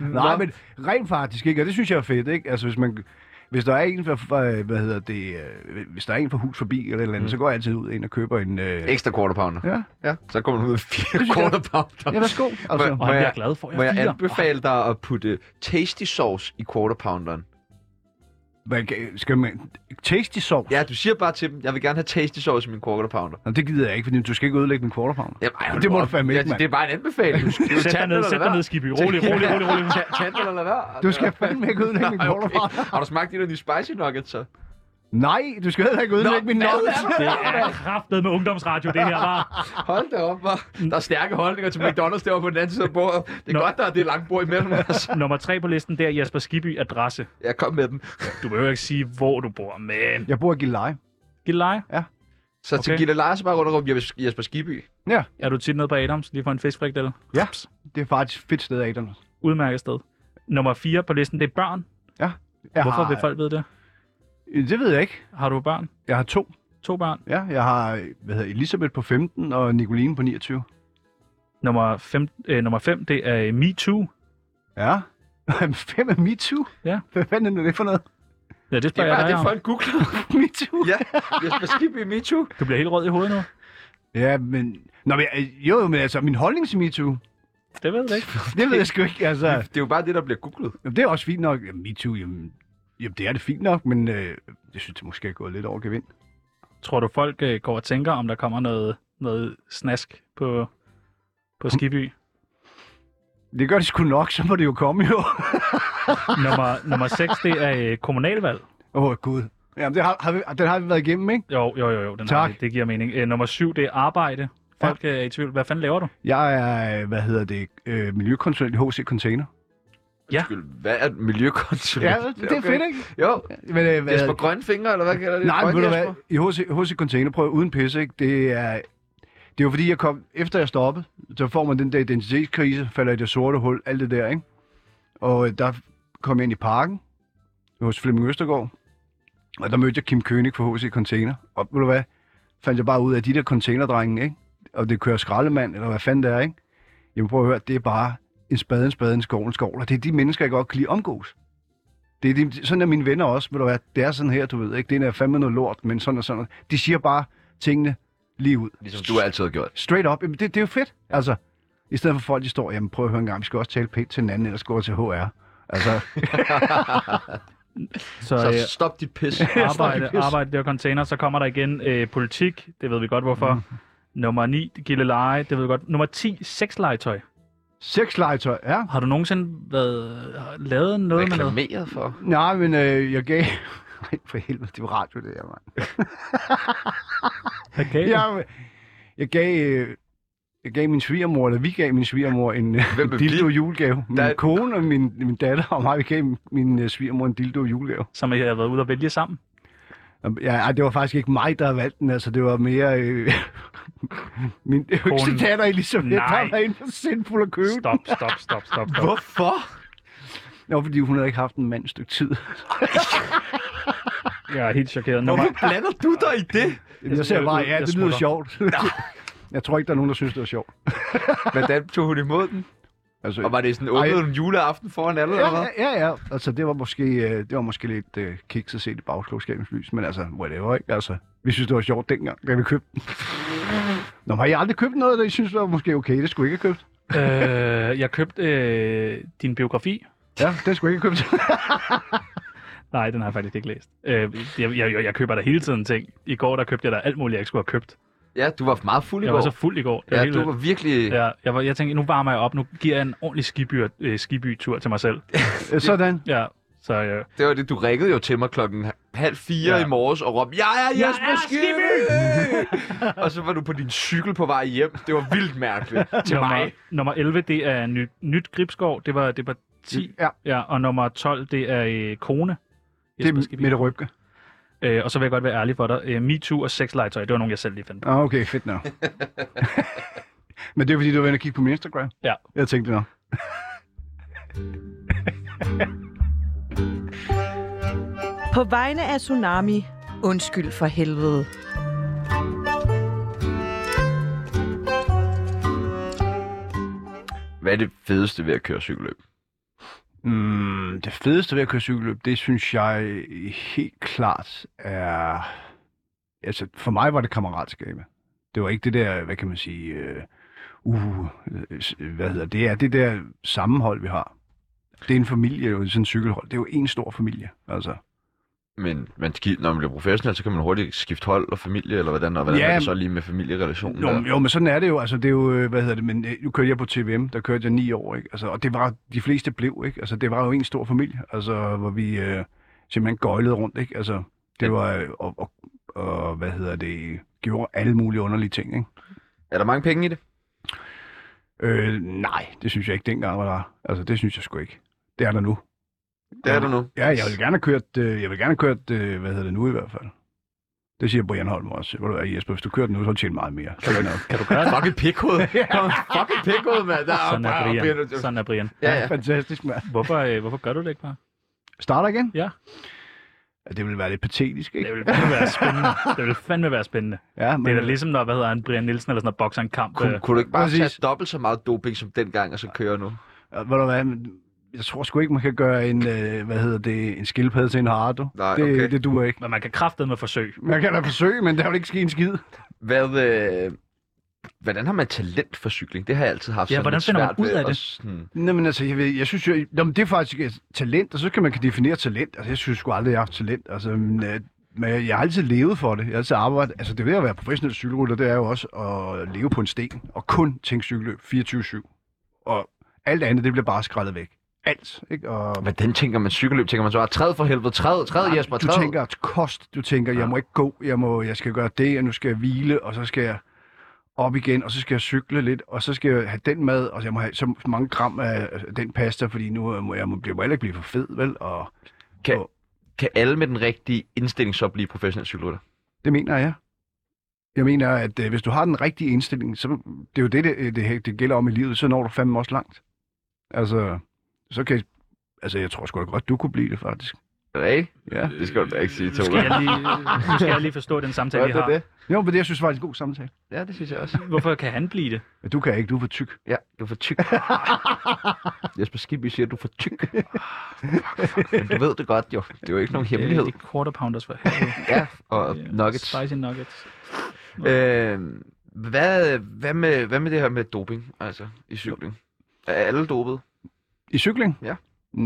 S3: Nej, men rent faktisk ikke, og det synes jeg er fedt, ikke? Altså, hvis man... Hvis der er en fra, fra, hvad hedder det, øh, hvis der er en fra hus forbi eller et eller andet, mm. så går jeg altid ud ind og køber en... Øh...
S1: Ekstra quarter pounder.
S3: Ja.
S1: Ja, så kommer du ud med fire
S3: synes jeg-
S1: quarter pounder.
S3: ja, værsgo.
S1: Må
S2: Og
S3: Altså,
S2: jeg bliver
S1: jeg-
S2: glad for, at
S1: Må
S2: jeg
S1: jeg
S2: fire.
S1: anbefale dig at putte tasty sauce i quarter pounderen?
S3: man, kan- skal man... Tasty sovs?
S1: Ja, du siger bare til dem, jeg vil gerne have tasty sauce i min quarter pounder.
S3: Nå, det gider jeg ikke, fordi du skal ikke ødelægge min quarter pounder.
S1: Jamen, ej, hold
S3: det
S1: nu
S3: må du
S1: op.
S3: fandme
S1: Ja,
S3: ikke, mand.
S1: Det er bare en anbefaling. Du skal jo tage
S2: Sæt dig
S1: den
S2: ned,
S1: eller
S2: sæt
S1: lade
S2: dig ned,
S1: være.
S2: Skibby. Rolig, rolig, rolig,
S1: *laughs*
S2: rolig.
S1: Tag- Tag den eller lad være.
S3: Du skal
S1: *laughs*
S3: fandme ikke ødelægge min
S1: Nej,
S3: quarter
S1: okay.
S3: pounder.
S1: Har du smagt de der nye spicy nuggets, så?
S3: Nej, du skal heller ikke ødelægge min
S1: hvad
S3: nuggets.
S1: er
S2: Det er kraftet med ungdomsradio, det her var.
S1: Hold da op, var. Der er stærke holdninger til McDonald's derovre på den anden side af bordet. Det er
S2: Nå.
S1: godt, der er det lange bord imellem os.
S2: Nummer tre på listen, det er Jesper Skibby adresse.
S1: Jeg kom med den.
S2: Du behøver ikke sige, hvor du bor, men...
S3: Jeg bor i Gilleleje.
S2: Gilleleje,
S1: Så okay. til
S2: Okay.
S1: Gilde Lars bare rundt og råbe Jes- Jesper Skibby.
S2: er du tit nede på Adams lige for en fiskfrikdel?
S3: Ja. Det er faktisk et fedt sted, Adam.
S2: Udmærket sted. Nummer 4 på listen, det er børn.
S3: Jeg
S2: Hvorfor
S3: har...
S2: vil folk vide det?
S3: Det ved jeg ikke.
S2: Har du børn?
S3: Jeg har to.
S2: To børn.
S3: Ja, jeg har øh, hvad hedder, Elisabeth på 15 og Nicoline på 29.
S2: Nummer 5, øh, nummer fem, det er øh, MeToo.
S3: *laughs* Ja. Fem af MeToo?
S2: Ja.
S3: Hvad fanden er det for noget? *laughs*
S2: Ja, det
S1: Det
S2: spørger
S1: er bare
S2: jeg dig
S1: det,
S2: om.
S1: folk googler.
S3: MeToo?
S1: ja, Jesper Skibby, me too.
S2: Du bliver helt rød i hovedet nu.
S3: Ja, men... Nå, men, øh, jo, jo, men altså, min holdning til MeToo,
S2: Det ved jeg ikke.
S3: det ved jeg sgu ikke, *laughs* altså...
S1: Det er jo bare det, der bliver googlet.
S3: Jamen, det er også fint nok. Jamen, MeToo, jamen, jamen, det er det fint nok, men øh, jeg synes, det måske er gået lidt over gevind.
S2: Tror du, folk øh, går og tænker, om der kommer noget, noget snask på, på Skiby?
S3: Det gør det sgu nok, så må det jo komme jo. *laughs*
S2: nummer, nummer 6, det er øh, kommunalvalg.
S3: Åh, oh, gud. Jamen, det har, har vi, den har vi været igennem, ikke?
S2: Jo, jo, jo, jo den
S3: Tak.
S2: Har, det, det giver mening. Øh, nummer 7, det er arbejde. Folk ja. er i tvivl. Hvad fanden laver du?
S3: Jeg er, øh, hvad hedder det, øh, miljøkonsulent i HC Container.
S2: Ja.
S1: Skyld, hvad er et miljøkonsulent?
S3: Ja, det er
S1: okay.
S3: fedt, ikke?
S1: Jo,
S3: Men, øh, hvad,
S1: Jesper Grønfinger, eller hvad kalder det?
S3: Nej, men
S1: Grøn
S3: ved du
S1: Jesper?
S3: hvad, i HC, HC Container, prøv at- uden pisse, ikke? Det er, det er jo fordi, jeg kom, efter jeg stoppede, så får man den der identitetskrise, falder i det sorte hul, alt det der, ikke? Og øh, der kom jeg ind i parken, hos Flemming Østergaard, og der mødte jeg Kim König fra HC Container. Og ved du hvad, fandt jeg bare ud af de der containerdrenge, ikke? Og det kører skraldemand, eller hvad fanden det er, ikke? Jamen prøv at høre, det er bare en spade, en spade, en skov, en skov. Og det er de mennesker, jeg godt kan lide at omgås. Det er de, sådan er mine venner også, ved du hvad, det er sådan her, du ved, ikke? Det er fandme noget lort, men sådan og sådan. De siger bare tingene lige ud.
S1: Ligesom du altid har gjort.
S3: Straight up. Jamen, det, det er jo fedt. Altså, i stedet for folk, de står, jamen prøv at høre en gang, vi skal også tale pænt til hinanden, ellers går jeg til HR. Altså, *laughs*
S2: Så,
S1: Så
S2: øh,
S1: stop dit pis.
S2: arbejde, arbejde, det var container. Så kommer der igen øh, politik, det ved vi godt hvorfor. Mm. Nummer 9, gilleleje, det ved vi godt. Nummer 10, sexlegetøj.
S3: sexlegetøj, ja.
S2: Har du nogensinde været, har lavet noget med noget?
S1: Reklameret for.
S3: Nej, men øh, jeg gav... *laughs* Ej, for helvede, det var radio, det her, mand.
S2: Okay. Ja.
S3: Jeg, jeg gav... Øh, jeg gav min svigermor, eller vi gav min svigermor en øh,
S1: Hvem er
S3: dildo
S1: vi?
S3: julegave. Min
S1: Der-
S3: kone og min, min datter og mig, vi gav min øh, svigermor en dildo julegave.
S2: Som jeg har været ude og vælge sammen.
S3: Jamen, Ja, ej, det var faktisk ikke mig, der valgte den. Altså, det var mere... Øh, *laughs* min yngste datter Elisabeth,
S2: Nej.
S3: der var inde og sindfuld at købe den.
S2: Stop, stop, stop, stop, stop.
S1: Hvorfor?
S3: Nå, fordi hun havde ikke haft en mand et stykke tid.
S2: Jeg er helt chokeret. Nummer,
S1: Hvorfor blander du dig i det?
S3: Jeg, jeg ser bare, ja,
S2: jeg
S3: det lyder
S2: smutter.
S3: sjovt. *laughs* jeg tror ikke, der er nogen, der synes, det var sjovt.
S1: Hvordan tog hun imod den?
S3: Altså,
S1: Og var det sådan,
S3: Ej.
S1: åbnede hun juleaften foran alle, eller
S3: ja,
S1: hvad?
S3: ja, ja, ja. Altså, det var måske, øh, det var måske lidt øh, kiks at se det i bagklogskabens lys, men altså, whatever, ikke? Altså, vi synes, det var sjovt dengang, da vi købte den. *laughs* Nå, men har I aldrig købt noget, der I synes, var måske okay? Det skulle I ikke have købt.
S2: øh, jeg købte øh, din biografi.
S3: Ja, det skulle I ikke
S1: *laughs*
S3: have købt.
S2: Nej, den har jeg faktisk ikke læst. Øh, jeg, jeg, jeg køber der hele tiden ting. I går der købte jeg der alt muligt, jeg ikke skulle have købt.
S1: Ja, du var meget fuld i
S2: Jeg var
S1: går.
S2: så fuld i går. Det var
S1: Ja,
S2: helt
S1: du
S2: vildt.
S1: var virkelig...
S2: Ja, jeg, var, jeg tænkte, nu varmer jeg op. Nu giver jeg en ordentlig skiby, øh, skibytur til mig selv.
S3: Øh, Sådan.
S2: Ja, så øh,
S1: Det var det, du ringede jo til mig klokken halv fire
S2: Ja.
S1: ja. i morges og råbte, jeg er
S2: Jeg
S1: Jesper
S2: er
S1: Skibby! *laughs* og så var du på din cykel på vej hjem. Det var vildt mærkeligt til
S2: nummer,
S1: mig.
S2: nummer 11, det er nyt, nyt Gribskov. Det var, det var 10.
S3: Ja.
S2: ja. Og nummer 12, det er øh, Kone.
S3: Det
S2: Jesper
S3: er
S2: Skibby.
S3: Mette Røbke.
S2: Øh, og så vil jeg godt være ærlig for dig. Øh, MeToo og sexlegetøj, det var nogen, jeg selv lige fandt på.
S3: Ah, okay,
S1: *laughs*
S3: fedt nok. *laughs* Men det er fordi, du var inde og kigge på min Instagram.
S2: Ja.
S3: Jeg tænkte nok.
S6: På vegne af Tsunami, undskyld for helvede.
S1: Hvad er det fedeste ved at køre cykelløb?
S3: Mm, det fedeste ved at køre cykelløb, det synes jeg helt klart er... Altså, for mig var det kammeratskabet. Det var ikke det der, hvad kan man sige... Øh, uh, øh, s- hvad hedder det? det? er det der sammenhold, vi har. Det er en familie, jo, sådan en cykelhold. Det er jo en stor familie, altså.
S1: Men man, skif- når man bliver professionel, så kan man hurtigt skifte hold og familie, eller hvordan, og hvordan
S3: Ja,
S1: er det så lige med familierelationen?
S3: Jo,
S1: der?
S3: men- jo, men sådan er det jo. Altså, det er jo, øh, hvad hedder det, men øh, nu kørte jeg på TVM, der kørte jeg ni år, ikke? Altså, og det var, de fleste blev, ikke? Altså, det var jo en stor familie, altså, hvor vi øh, simpelthen gøjlede rundt, ikke? Altså, det var, øh, og, og, og, hvad hedder det, gjorde alle mulige underlige ting, ikke?
S1: Er der mange penge i det?
S3: Øh, nej, det synes jeg ikke dengang, var der. Altså, det synes jeg sgu ikke. Det er der nu.
S1: Det er der nu.
S3: Ja, jeg vil gerne have kørt, øh, jeg vil gerne have kørt, øh, hvad hedder det nu i hvert fald. Det siger Brian Holm også. Hvor du er, Jesper, hvis du kører den nu, så har du tjent meget mere. Så er det nok.
S2: Kan du
S1: *laughs*
S2: gøre det?
S1: Fucking
S2: *laughs*
S1: pikhoved. Kom, fucking pikhoved, mand. Der er
S2: Sådan er
S1: bare-
S2: Brian. Sådan er Brian.
S1: Ja, ja.
S3: Fantastisk, mand.
S2: Hvorfor, øh, hvorfor gør du det ikke bare?
S3: Starter igen?
S2: Ja.
S3: Ja, Det ville være lidt patetisk, ikke?
S2: Det ville fandme være spændende. Det ville fandme være spændende.
S3: Ja, men øh,
S2: Det er da ligesom, når, hvad hedder han, Brian Nielsen eller sådan noget, bokser en kamp.
S1: Kunne,
S2: Øh,
S1: kunne du ikke bare
S3: Præcis.
S1: tage dobbelt så meget doping som dengang, og så køre nu?
S3: øh, ved du hvad, men jeg tror sgu ikke, man kan gøre en, øh, hvad hedder det, en skildpadde til en hardo.
S1: Nej,
S3: det,
S1: okay.
S3: det duer ikke.
S2: men man kan kraftedeme med forsøg.
S3: Man kan da forsøge, men der vil ikke ske en skid.
S1: Hvad, øh, hvordan har man talent for cykling? Det har jeg altid haft
S2: Ja,
S1: sådan
S2: hvordan
S1: lidt
S2: finder man
S1: svært
S2: ud
S1: ved
S2: af
S1: at
S2: det?
S1: Sådan,
S3: Nå, men altså, jeg, ved, jeg synes jo, nå, men det er faktisk et talent, og så kan man kan definere talent. Altså, jeg synes sgu aldrig, jeg har haft talent. Altså, men, øh, men jeg, jeg har altid levet for det. Jeg har altid arbejdet. Altså, det ved at være professionel cykelrytter, det er jo også at leve på en sten, og kun tænke cykelløb 24-7. Og alt andet, det bliver bare skrællet væk. Alt, ikke? Og,
S1: hvordan tænker man cykelløb? Tænker man så, "Ah, træd for helvede, træd, træd
S3: Nej,
S1: Jesper,
S3: du
S1: træd.
S3: tænker at kost, du tænker, jeg må ikke gå, jeg, må, jeg skal gøre det, og nu skal jeg hvile, og så skal jeg op igen, og så skal jeg cykle lidt, og så skal jeg have den mad, og jeg må have så mange gram af den pasta, fordi nu øh, må jeg må, jeg må heller ikke blive for fed, vel? Og
S1: Kan, kan alle med den rigtige indstilling så blive professionelle cykelrytter?
S3: det mener jeg. Jeg mener, at øh, hvis du har den rigtige indstilling, så det er jo det, det, det, det gælder om i livet, så når du fandme også langt. Altså, så kan altså, jeg tror sgu da godt, du kunne blive det, faktisk.
S1: Er det rigtigt?
S3: Ja.
S1: Det skal du da ikke sige,
S2: Nu skal, jeg lige, nu skal jeg lige forstå den samtale, vi
S1: Godt,
S2: har.
S1: det er det.
S3: Jo, men det, jeg synes, var en god samtale.
S1: Ja, det synes jeg også.
S2: Hvorfor kan han blive det? Øh,
S3: Men Du kan ikke, du er for tyk.
S1: Ja, du er for tyk. Jesper Skibby siger, at du er for tyk. Ah, fuck, fuck. Men du ved det godt, jo. Det er jo ikke nogen hemmelighed.
S2: Det er quarter pounders for helvede.
S1: Ja, *laughs* og
S2: Ja,
S1: nuggets.
S2: Spicy nuggets.
S1: Øh, hvad, hvad, med, hvad med det her med doping, altså, i cykling? Er alle dopet?
S3: I cykling?
S1: Ja.
S3: Mm,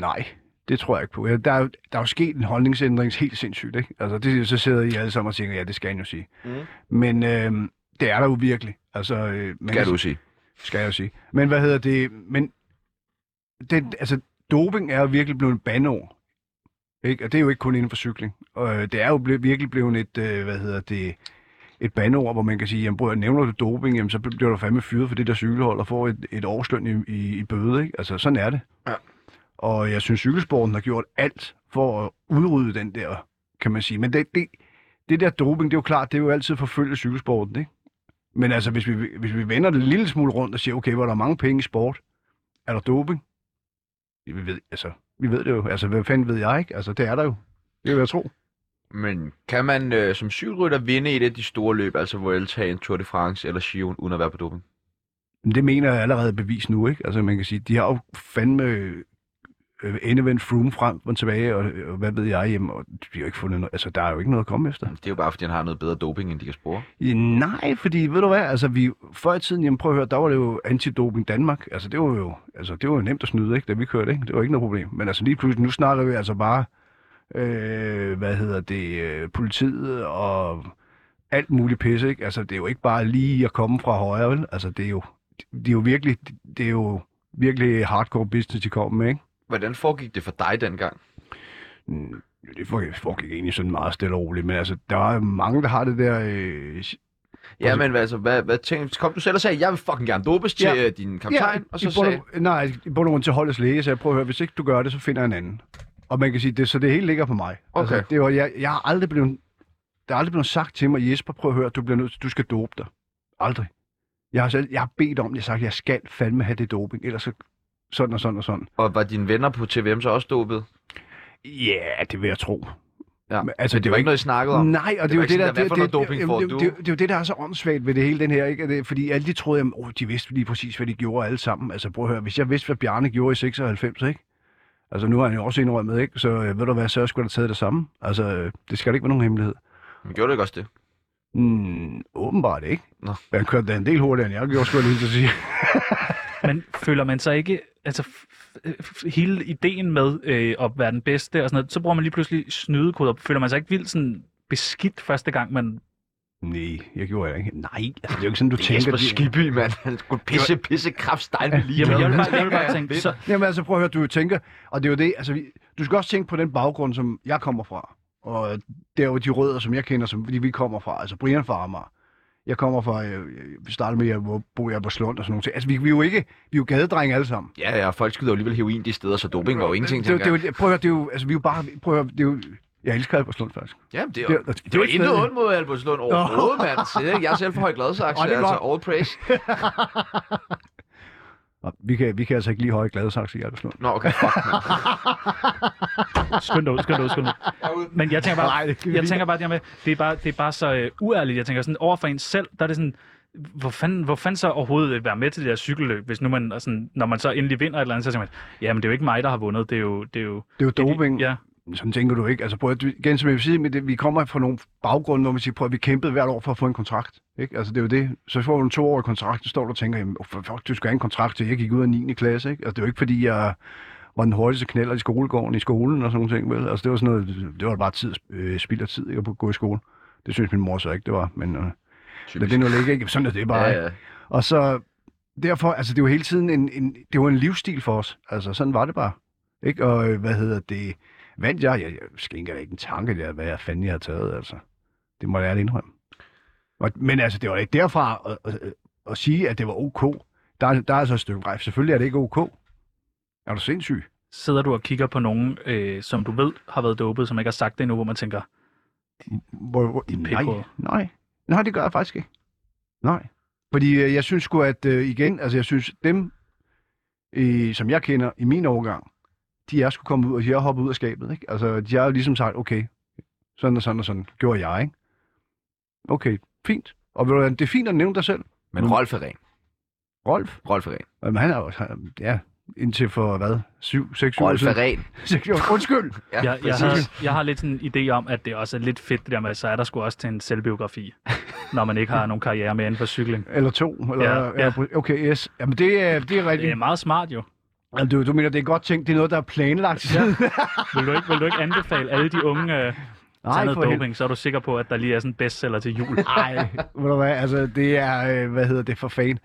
S3: nej, det tror jeg ikke på. Ja, Der er, jo- der er jo sket en holdningsændring helt sindssygt, ikke? Altså, det, så sidder I alle sammen og tænker, ja, det skal han jo sige.
S1: Mm.
S3: Men øh, det er der jo virkelig. Altså, øh, man kan-
S1: sige.
S3: Skal jeg jo sige. Men hvad hedder det? Men det, altså, doping er jo virkelig blevet en bandeord. Ikke? Og det er jo ikke kun inden for cykling. Og øh, det er jo ble, virkelig blevet et, øh, hvad hedder det, et bandeord, hvor man kan sige, jamen bror, nævner du doping, jamen, så bliver du fandme fyret for det der cykelhold og får et, et årsløn i, i, i bøde. Ikke? Altså, sådan er det.
S1: Ja.
S3: Og jeg synes, cykelsporten har gjort alt for at udrydde den der, kan man sige. Men det, det, det der doping, det er jo klart, det er jo altid forfølge cykelsporten, ikke? Men altså, hvis vi, hvis vi vender det en lille smule rundt og siger, okay, hvor er der mange penge i sport? Er der doping? Vi ved, altså, vi ved det jo. Altså, hvad fanden ved jeg ikke? Altså, det er der jo. Det vil jeg tro.
S1: Men kan man øh, som cykelrytter vinde i et af de store løb, altså Vueltaen, Tour de France eller Giroen, uden at være på doping?
S3: Men det mener jeg allerede er bevis nu, ikke? Altså, man kan sige, de har jo fandme øh, endevendt Froome frem og tilbage, og, og hvad ved jeg, jamen, og de har jo ikke fundet noget, altså, der er jo ikke noget at komme efter.
S1: Det er jo bare, fordi han har noget bedre doping, end de kan spore.
S3: Ja, Nej, fordi ved du hvad, altså vi, før i tiden, jamen prøv at høre, der var det jo antidoping Danmark. Altså det var jo, altså, det var jo nemt at snyde, ikke, da vi kørte, ikke? Det var ikke noget problem. Men altså lige pludselig, nu snakker vi altså bare, øh, hvad hedder det, øh, politiet og alt muligt pisse, ikke? Altså det er jo ikke bare lige at komme fra højre, vel? Altså det er jo, det er jo virkelig, det er jo virkelig hardcore business, de kommer med, ikke?
S1: Hvordan foregik det for dig dengang?
S3: Mm, Det foregik foregik egentlig sådan meget stille og roligt, men altså, der er mange, der har det der øh,
S1: Ja, men altså, hvad, hvad tænkte, kom du selv og sagde, jeg vil fucking gerne dopes til
S3: Ja.
S1: ja. din kaptajn, ja, og så
S3: i bund
S1: sagde,
S3: Nej, i bund og grund til holdets læge, så jeg prøver at høre, hvis ikke du gør det, så finder jeg en anden. Og man kan sige, det, så det hele ligger på mig. Altså,
S1: Okay.
S3: det var, jeg, jeg har aldrig blevet, der er aldrig blevet sagt til mig, Jesper, prøv at høre, du, bliver nødt, til- du skal dope dig. Aldrig. Jeg har, selv, jeg har bedt om det, jeg har sagt, jeg skal fandme have det doping, ellers så, sådan og sådan og sådan.
S1: og var dine venner på TVM så også dopet?
S3: Ja, yeah, det vil jeg tro.
S1: Ja.
S3: Men, altså,
S1: Det var ikke noget, I snakkede om?
S3: Nej, og det,
S1: var
S3: er jo
S1: ikke
S3: det, der,
S1: sådan, hvad
S3: det,
S1: for
S3: det,
S1: noget
S3: det,
S1: doping får
S3: det,
S1: du?
S3: det, det, er jo det, der er så åndssvagt ved det hele den her, ikke? At det- Fordi alle de troede, at oh, de vidste lige præcis, hvad de gjorde alle sammen. Altså prøv at høre, hvis jeg vidste, hvad Bjarne gjorde i 96, ikke? Altså nu har han jo også indrømmet, ikke? Så øh, ved du hvad, så skulle der taget det samme. Altså øh, det skal da ikke være nogen hemmelighed.
S1: Men gjorde du ikke også det?
S3: Mm, åbenbart ikke.
S1: Nå.
S3: Han kørte da en del hurtigere, end jeg gjorde, skulle jeg lige til at sige. *laughs*
S2: Men føler man så ikke, altså f- f- hele ideen med øh, at være den bedste og sådan noget, så bruger man lige pludselig snydekoder. Føler man sig ikke vildt sådan beskidt første gang, man...
S3: Nej, jeg gjorde det ikke. Nej, altså, det er jo ikke sådan, du
S1: Det er
S3: tænker.
S1: Jesper
S3: de-
S1: Skibby, mand. Han skulle pisse, pisse kraftstejl lige.
S2: Jamen, jeg vil bare, jeg vil
S1: *laughs*
S2: bare tænke, så,
S3: Jamen altså, prøv at høre, du tænker, og det er jo det, altså, vi- du skal også tænke på den baggrund, som jeg kommer fra, og det er jo de rødder, som jeg kender, som fordi vi kommer fra, altså Brian fra Amager. Jeg kommer fra, øh, vi startede med, at jeg bor jeg på Slund og sådan noget. Altså, vi, vi er jo ikke, vi er jo gadedrenge alle sammen.
S1: Ja, ja, folk skyder jo alligevel heroin de steder, så doping var jo ingenting,
S3: det, det,
S1: tænker
S3: er jo-
S1: jeg.
S3: det, er jo- prøv at høre, det er jo, altså, vi er jo bare, prøv at høre, det er jo, jeg elsker Albertslund faktisk.
S1: Jamen, det er
S3: det
S1: jo
S3: er- det er
S1: det er jo
S3: ikke
S1: intet
S3: stadig-
S1: ondt mod Albertslund overhovedet, mand. Så det er- Jeg er selv for høj gladsaxe,
S3: Ej, det er
S1: altså all praise.
S3: Og vi kan, vi kan altså ikke lige høje gladsaxe i Albertslund.
S1: Nå, okay, fuck, mand.
S2: skynd dig ud, skynd dig ud, skynd dig ud. Men jeg tænker bare,
S3: Nej, det kan vi
S2: jeg
S3: lige-
S2: tænker bare, det, her med, det, er bare det er bare så øh, uærligt. Jeg tænker sådan, over for en selv, der er det sådan, hvor fanden, hvor fanden så overhovedet øh, være med til det der cykelløb, hvis nu man, er sådan, når man så endelig vinder et eller andet, så tænker man, jamen det er jo ikke mig, der har vundet, det er jo... Det er jo
S3: Det er jo doping.
S2: Ja,
S3: sådan tænker du ikke. Altså, prøv at, igen, som jeg vil sige, men det, vi kommer fra nogle baggrunde, hvor man siger, prøv at vi kæmpede hvert år for at få en kontrakt. Ikke? Altså, det er jo det. Så får du en toårig kontrakt, så står du og tænker, jamen, for fuck, du skal have en kontrakt til, jeg gik ud af 9. klasse. Ikke? Altså, det er jo ikke, fordi jeg var den hurtigste knælder i skolegården i skolen og sådan nogle ting. Vel? Altså, det var sådan noget, det var bare tid, øh, spild af tid ikke, at gå i skole. Det synes min mor så ikke, det var. Men øh, lad det nu ligge, ikke? Sådan er det bare.
S1: ligesom- Ja, ja.
S3: Og så derfor, altså det var hele tiden en, en, det var en livsstil for os. Altså sådan var det bare. Ikke? Og øh, hvad hedder det? Vandt jeg? Jeg, jeg skænker da ikke en tanke der, hvad jeg fanden jeg har taget, altså. Det må jeg ærligt indrømme. Og, men altså, det var da ikke derfra at, at, at, at sige, at det var ok. Der, er- der er altså et stykke vej. Selvfølgelig er det ikke ok. Er du sindssyg?
S2: Sidder du og kigger på nogen, øh, som du ved har været dopet, som ikke har sagt det endnu, hvor man tænker,
S3: Hvor, hvor, nej,
S2: pikhoved.
S3: nej. Nej, det gør jeg faktisk ikke. Nej. Fordi øh, jeg synes sgu, at øh, igen, altså jeg synes, dem, øh, som jeg kender i min overgang, de er skulle komme ud, og de er hoppet ud af skabet. Ikke? Altså, de har jo ligesom sagt, okay, sådan og sådan og sådan gjorde jeg, ikke? Okay, fint. Og ved du hvad, det er fint at nævne dig selv.
S1: Men Rolf er ren.
S3: Rolf,
S1: Rolf er ren.
S3: jamen, han er jo, han- ja, indtil for, hvad, syv, seks år
S1: Rolf er
S3: siden.
S1: ren.
S3: Seks år, undskyld.
S1: Ja,
S2: jeg, jeg,
S1: præcis.
S2: har, jeg har lidt sådan en idé om, at det også er lidt fedt det der med, så er der sgu også til en
S3: *laughs*
S2: selvbiografi, når man ikke har nogen karriere mere inden for cykling.
S3: Eller to, eller,
S2: Ja, ja.
S3: okay, yes. Jamen, det er, det er rigtigt.
S2: Det er meget smart jo.
S3: Altså, du, du mener, det er godt tænkt, det er noget, der er planlagt til siden?
S2: Vil du ikke, vil du ikke anbefale alle de unge øh, tage noget
S3: for helvede.
S2: doping, så er du sikker på, at der lige er sådan en bestseller til jul.
S3: Nej, *laughs* ved du hvad, altså, det er, øh, hvad hedder det for fan.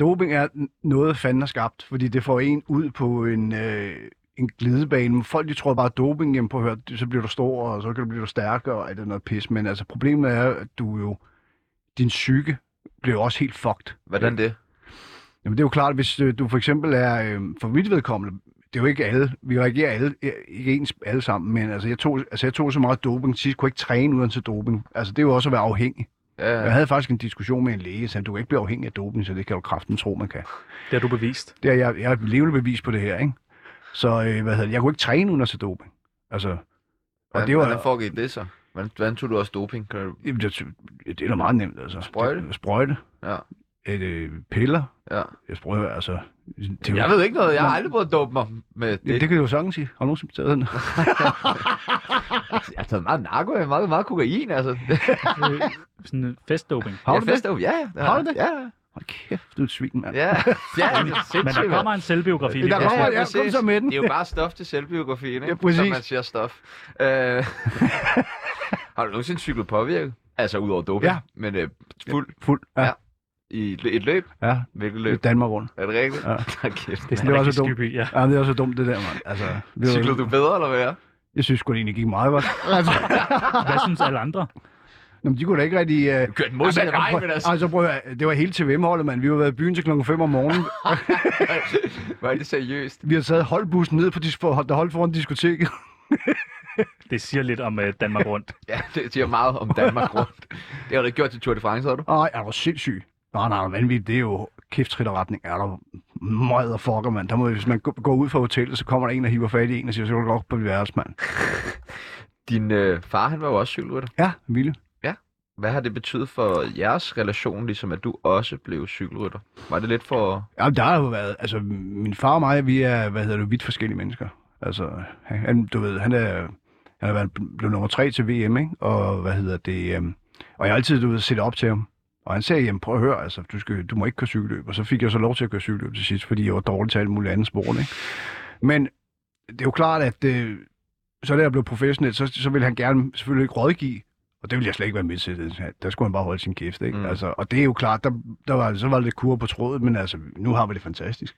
S3: Doping er n- noget, fanden har skabt, fordi det får en ud på en, øh, en glidebane. Men Folk, de tror bare, at doping, jamen, prøv at høre, så bliver du stor, og så kan du blive stærkere, og alt det noget pis. Men altså, problemet er, at du jo, din psyke bliver jo også helt fucked.
S1: Hvordan det?
S3: Jamen det er jo klart, hvis øh, du for eksempel er, øh, for mit vedkommende, det er jo ikke alle, vi reagerer alle, øh, ikke ens alle sammen, men altså jeg tog, altså, jeg tog så meget doping, sidst kunne jeg ikke træne uden til doping. Altså det er jo også at være afhængig.
S1: Ja,
S3: Jeg havde faktisk en diskussion med en læge, så du kan ikke blive afhængig af doping, så det kan jo kraften tro, man kan.
S2: Det har du bevist.
S3: Det er, jeg, jeg er et levende bevis på det her, ikke? Så øh, hvad hedder det, jeg kunne ikke træne uden til doping. Altså, og det var,
S1: Hvordan foregik det så? Hvordan, hvordan tog du også doping? Kan du...
S3: Jamen, det, det er da meget nemt, altså.
S1: Sprøjte?
S3: Det- Sprøjte.
S1: Ja.
S3: Et, øh, piller.
S1: Ja.
S3: Jeg sprøjter, altså. Det, er jo-
S1: Jeg ved ikke noget. Jeg har aldrig prøvet at dope mig med det.
S3: Ja, det kan du jo sagtens sige. Har du
S1: *laughs*
S3: nogensinde taget den?
S1: Jeg har taget meget narko, jeg har meget, meget kokain, altså.
S2: Øh, sådan en festdoping.
S3: Har
S1: jeg
S3: du det?
S1: fester jo, ja, ja. det
S3: Har du
S1: jeg.
S3: det?
S1: Ja,
S3: *laughs*
S1: ja.
S3: Hold kæft, du er et svin, mand.
S1: Ja, ja, det er altså
S2: Men
S1: sindssygt,
S2: der kommer
S1: mand.
S2: en selvbiografi lige
S3: Der
S2: pludselig.
S3: kommer,
S1: Ja,
S3: ja, kom
S1: præcis.
S3: så med den.
S1: Det er jo bare stof til selvbiografien, ikke?
S3: Ja, præcis.
S1: Som man siger stof. Øh...
S3: *laughs*
S1: har du nogensinde cyklet påvirket? Altså udover doping,
S3: Ja.
S1: men øh, fuld
S3: Fuld. Ja,
S1: Ja. i et lø- et løb.
S3: ja.
S1: Hvilket
S3: Det
S1: løb?
S3: er Danmark rundt.
S1: Er det rigtigt? *laughs*
S3: Ja.
S1: Ja. kæft.
S2: Det er
S1: mand.
S2: sådan
S3: Det er
S2: en
S3: også
S2: rigtig
S3: dumt.
S2: skyby, ja.
S3: Ja, det er også dumt, det der, mand. Altså, det var,
S1: Cyklede du bedre, eller hvad?
S3: Jeg synes sgu, det egentlig gik meget godt.
S1: *laughs*
S3: Altså,
S2: Hvad synes alle andre?
S3: Nå, men de kunne da ikke rigtig... Uh...
S1: Du kørte den modsatte vej, men altså.
S3: altså, prøv at, høre, det var hele TVM-holdet, mand. Vi har været i byen til klokken 5 om
S1: *laughs*
S3: morgenen.
S1: *laughs* Var det seriøst?
S3: Vi har taget holdbussen ned på dis- for, der holdt foran diskoteket.
S2: Det siger lidt om øh, Danmark rundt.
S1: *laughs* Ja, det siger meget om Danmark rundt. Det har du ikke gjort til Tour de France, har du?
S3: Ej, er du sindssyg? Nej, nej, vanvittigt. Det er jo kæft trit og retning. Er der meget og fucker, mand. Der må, hvis man gå- går ud fra hotellet, så kommer der en, der hiver fat i en og siger, så kan du godt på dit værelse, mand.
S1: Din øh, far, han var jo også cykelrytter.
S3: Ja, vilde.
S1: Hvad har det betydet for jeres relation, ligesom at du også blev cykelrytter? Var det lidt for...
S3: Ja, der har jo været, altså min far og mig, vi er, hvad hedder det, vidt forskellige mennesker. Altså, han- han, du ved, han er, han er været- blevet nummer tre til VM, ikke? Og hvad hedder det, øhm, og jeg har altid, du ved, set op til ham. Og han sagde, jamen prøv at høre, altså, du, skal, du må ikke køre cykelløb. Og så fik jeg så lov til at køre cykelløb til sidst, fordi jeg var dårlig til alt muligt andet sport, ikke? Men det er jo klart, at øh, så da jeg blev professionel, så, så ville han gerne selvfølgelig ikke rådgive. Og det ville jeg slet ikke være med til. Det- Der skulle han bare holde sin kæft, ikke?
S1: Mm.
S3: Mm. Altså, og det er jo klart, der, der var, så var det lidt kur på trådet, men altså, nu har vi det fantastisk.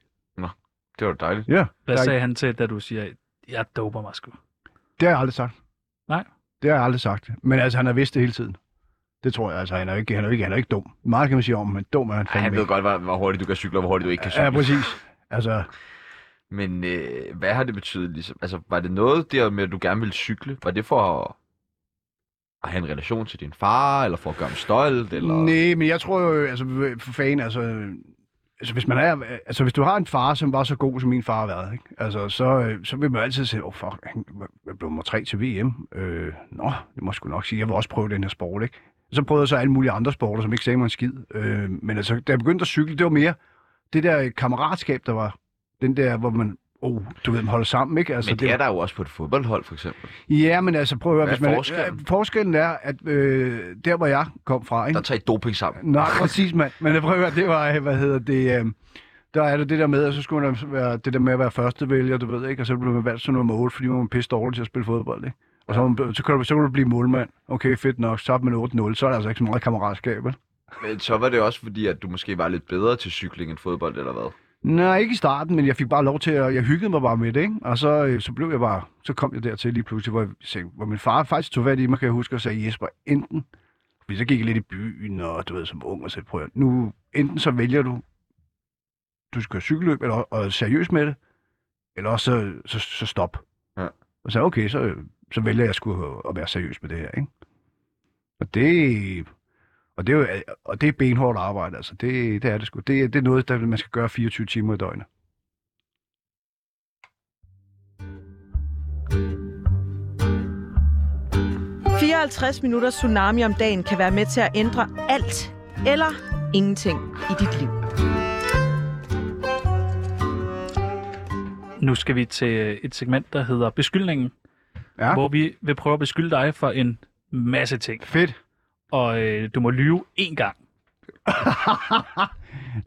S1: Det var dejligt.
S3: Ja,
S2: Hvad
S3: Der er
S2: sagde han til, da du siger, jeg doper mig sgu?
S3: det har jeg aldrig sagt.
S2: Nej.
S3: Det har jeg aldrig sagt. Men altså, han har vidst det hele tiden. Det tror jeg, altså, han er jo ikke, han er jo ikke, han er jo ikke dum. Meget kan man sige om, ham, men dum er han
S1: Ej,
S3: fandme
S1: han ved
S3: ikke.
S1: godt, hvor, hvor hurtigt du kan cykle, og hvor hurtigt du ikke kan cykle.
S3: Ja, præcis. Altså,
S1: Men øh, hvad har det betydet? Ligesom? Altså, var det noget der med, at du gerne ville cykle? Var det for at, at have en relation til din far, eller for at gøre ham stolt? Eller...
S3: Nej, men jeg tror jo, altså for fanden, altså, altså, hvis man er, altså hvis du har en far, som var så god, som min far har været, ikke? Altså, så, øh, så vil man jo altid sige, åh oh, fuck, han blev nummer tre til VM. Øh, nå, det må jeg sgu nok sige, jeg vil også prøve den her sport, ikke? Så prøvede jeg så alle mulige andre sporter, som ikke sagde mig en skid. Øh, men altså, da jeg begyndte at cykle, det var mere det der øh, kammeratskab, der var. Den der, hvor man oh, du ved, man holder sammen, ikke? Altså,
S1: Men det er der jo også på et fodboldhold, for eksempel.
S3: Ja, men altså, prøv at høre.
S1: Hvad er
S3: hvis man,
S1: forskellen?
S3: Øh, forskellen er, at øh, der, hvor jeg kom fra, ikke?
S1: Der tager I doping sammen.
S3: Nej, præcis, mand. Men jeg prøver at høre, det var, øh, hvad hedder det... Øh, der er det det der med, at så skulle man være, det der med at være førstevælger, du ved ikke, og så blev man valgt som nummer 8, fordi man var pisse dårlig til at spille fodbold, ikke? Og så, var man, så, kunne, du- så kunne du blive målmand. Okay, fedt nok, så er man 8-0, så er der altså ikke så meget kammeratskab, vel?
S1: Men så var det også fordi, at du måske var lidt bedre til cykling end fodbold, eller hvad?
S3: Nej, ikke i starten, men jeg fik bare lov til at... Jeg hyggede mig bare med det, ikke? Og så, øh, så blev jeg bare... Så kom jeg dertil lige pludselig, hvor, jeg, sagde- hvor min far faktisk tog fat i mig, kan jeg huske, og sagde, Jesper, enten... Fordi så gik jeg lidt i byen, og du ved, som ung, og så prøv at- nu... Enten så vælger du, du skal køre cykelløb, eller, og er seriøs med det, eller også så, så, så stop.
S1: Ja.
S3: Og så sagde jeg, okay, så, så vælger jeg sgu at være seriøs med det her, ikke? Og det... Og det, er jo, og det er benhårdt arbejde, altså. Det, det er det sgu. Det, det er noget, der man skal gøre 24 timer i døgnet.
S6: det. 54 minutter tsunami om dagen kan være med til at ændre alt eller ingenting i dit liv.
S2: Nu skal vi til øh, et segment, der hedder Beskyldningen,
S3: Ja,
S2: hvor vi vil prøve at beskylde dig for en masse ting.
S3: fedt.
S2: Og øh, du må lyve én gang.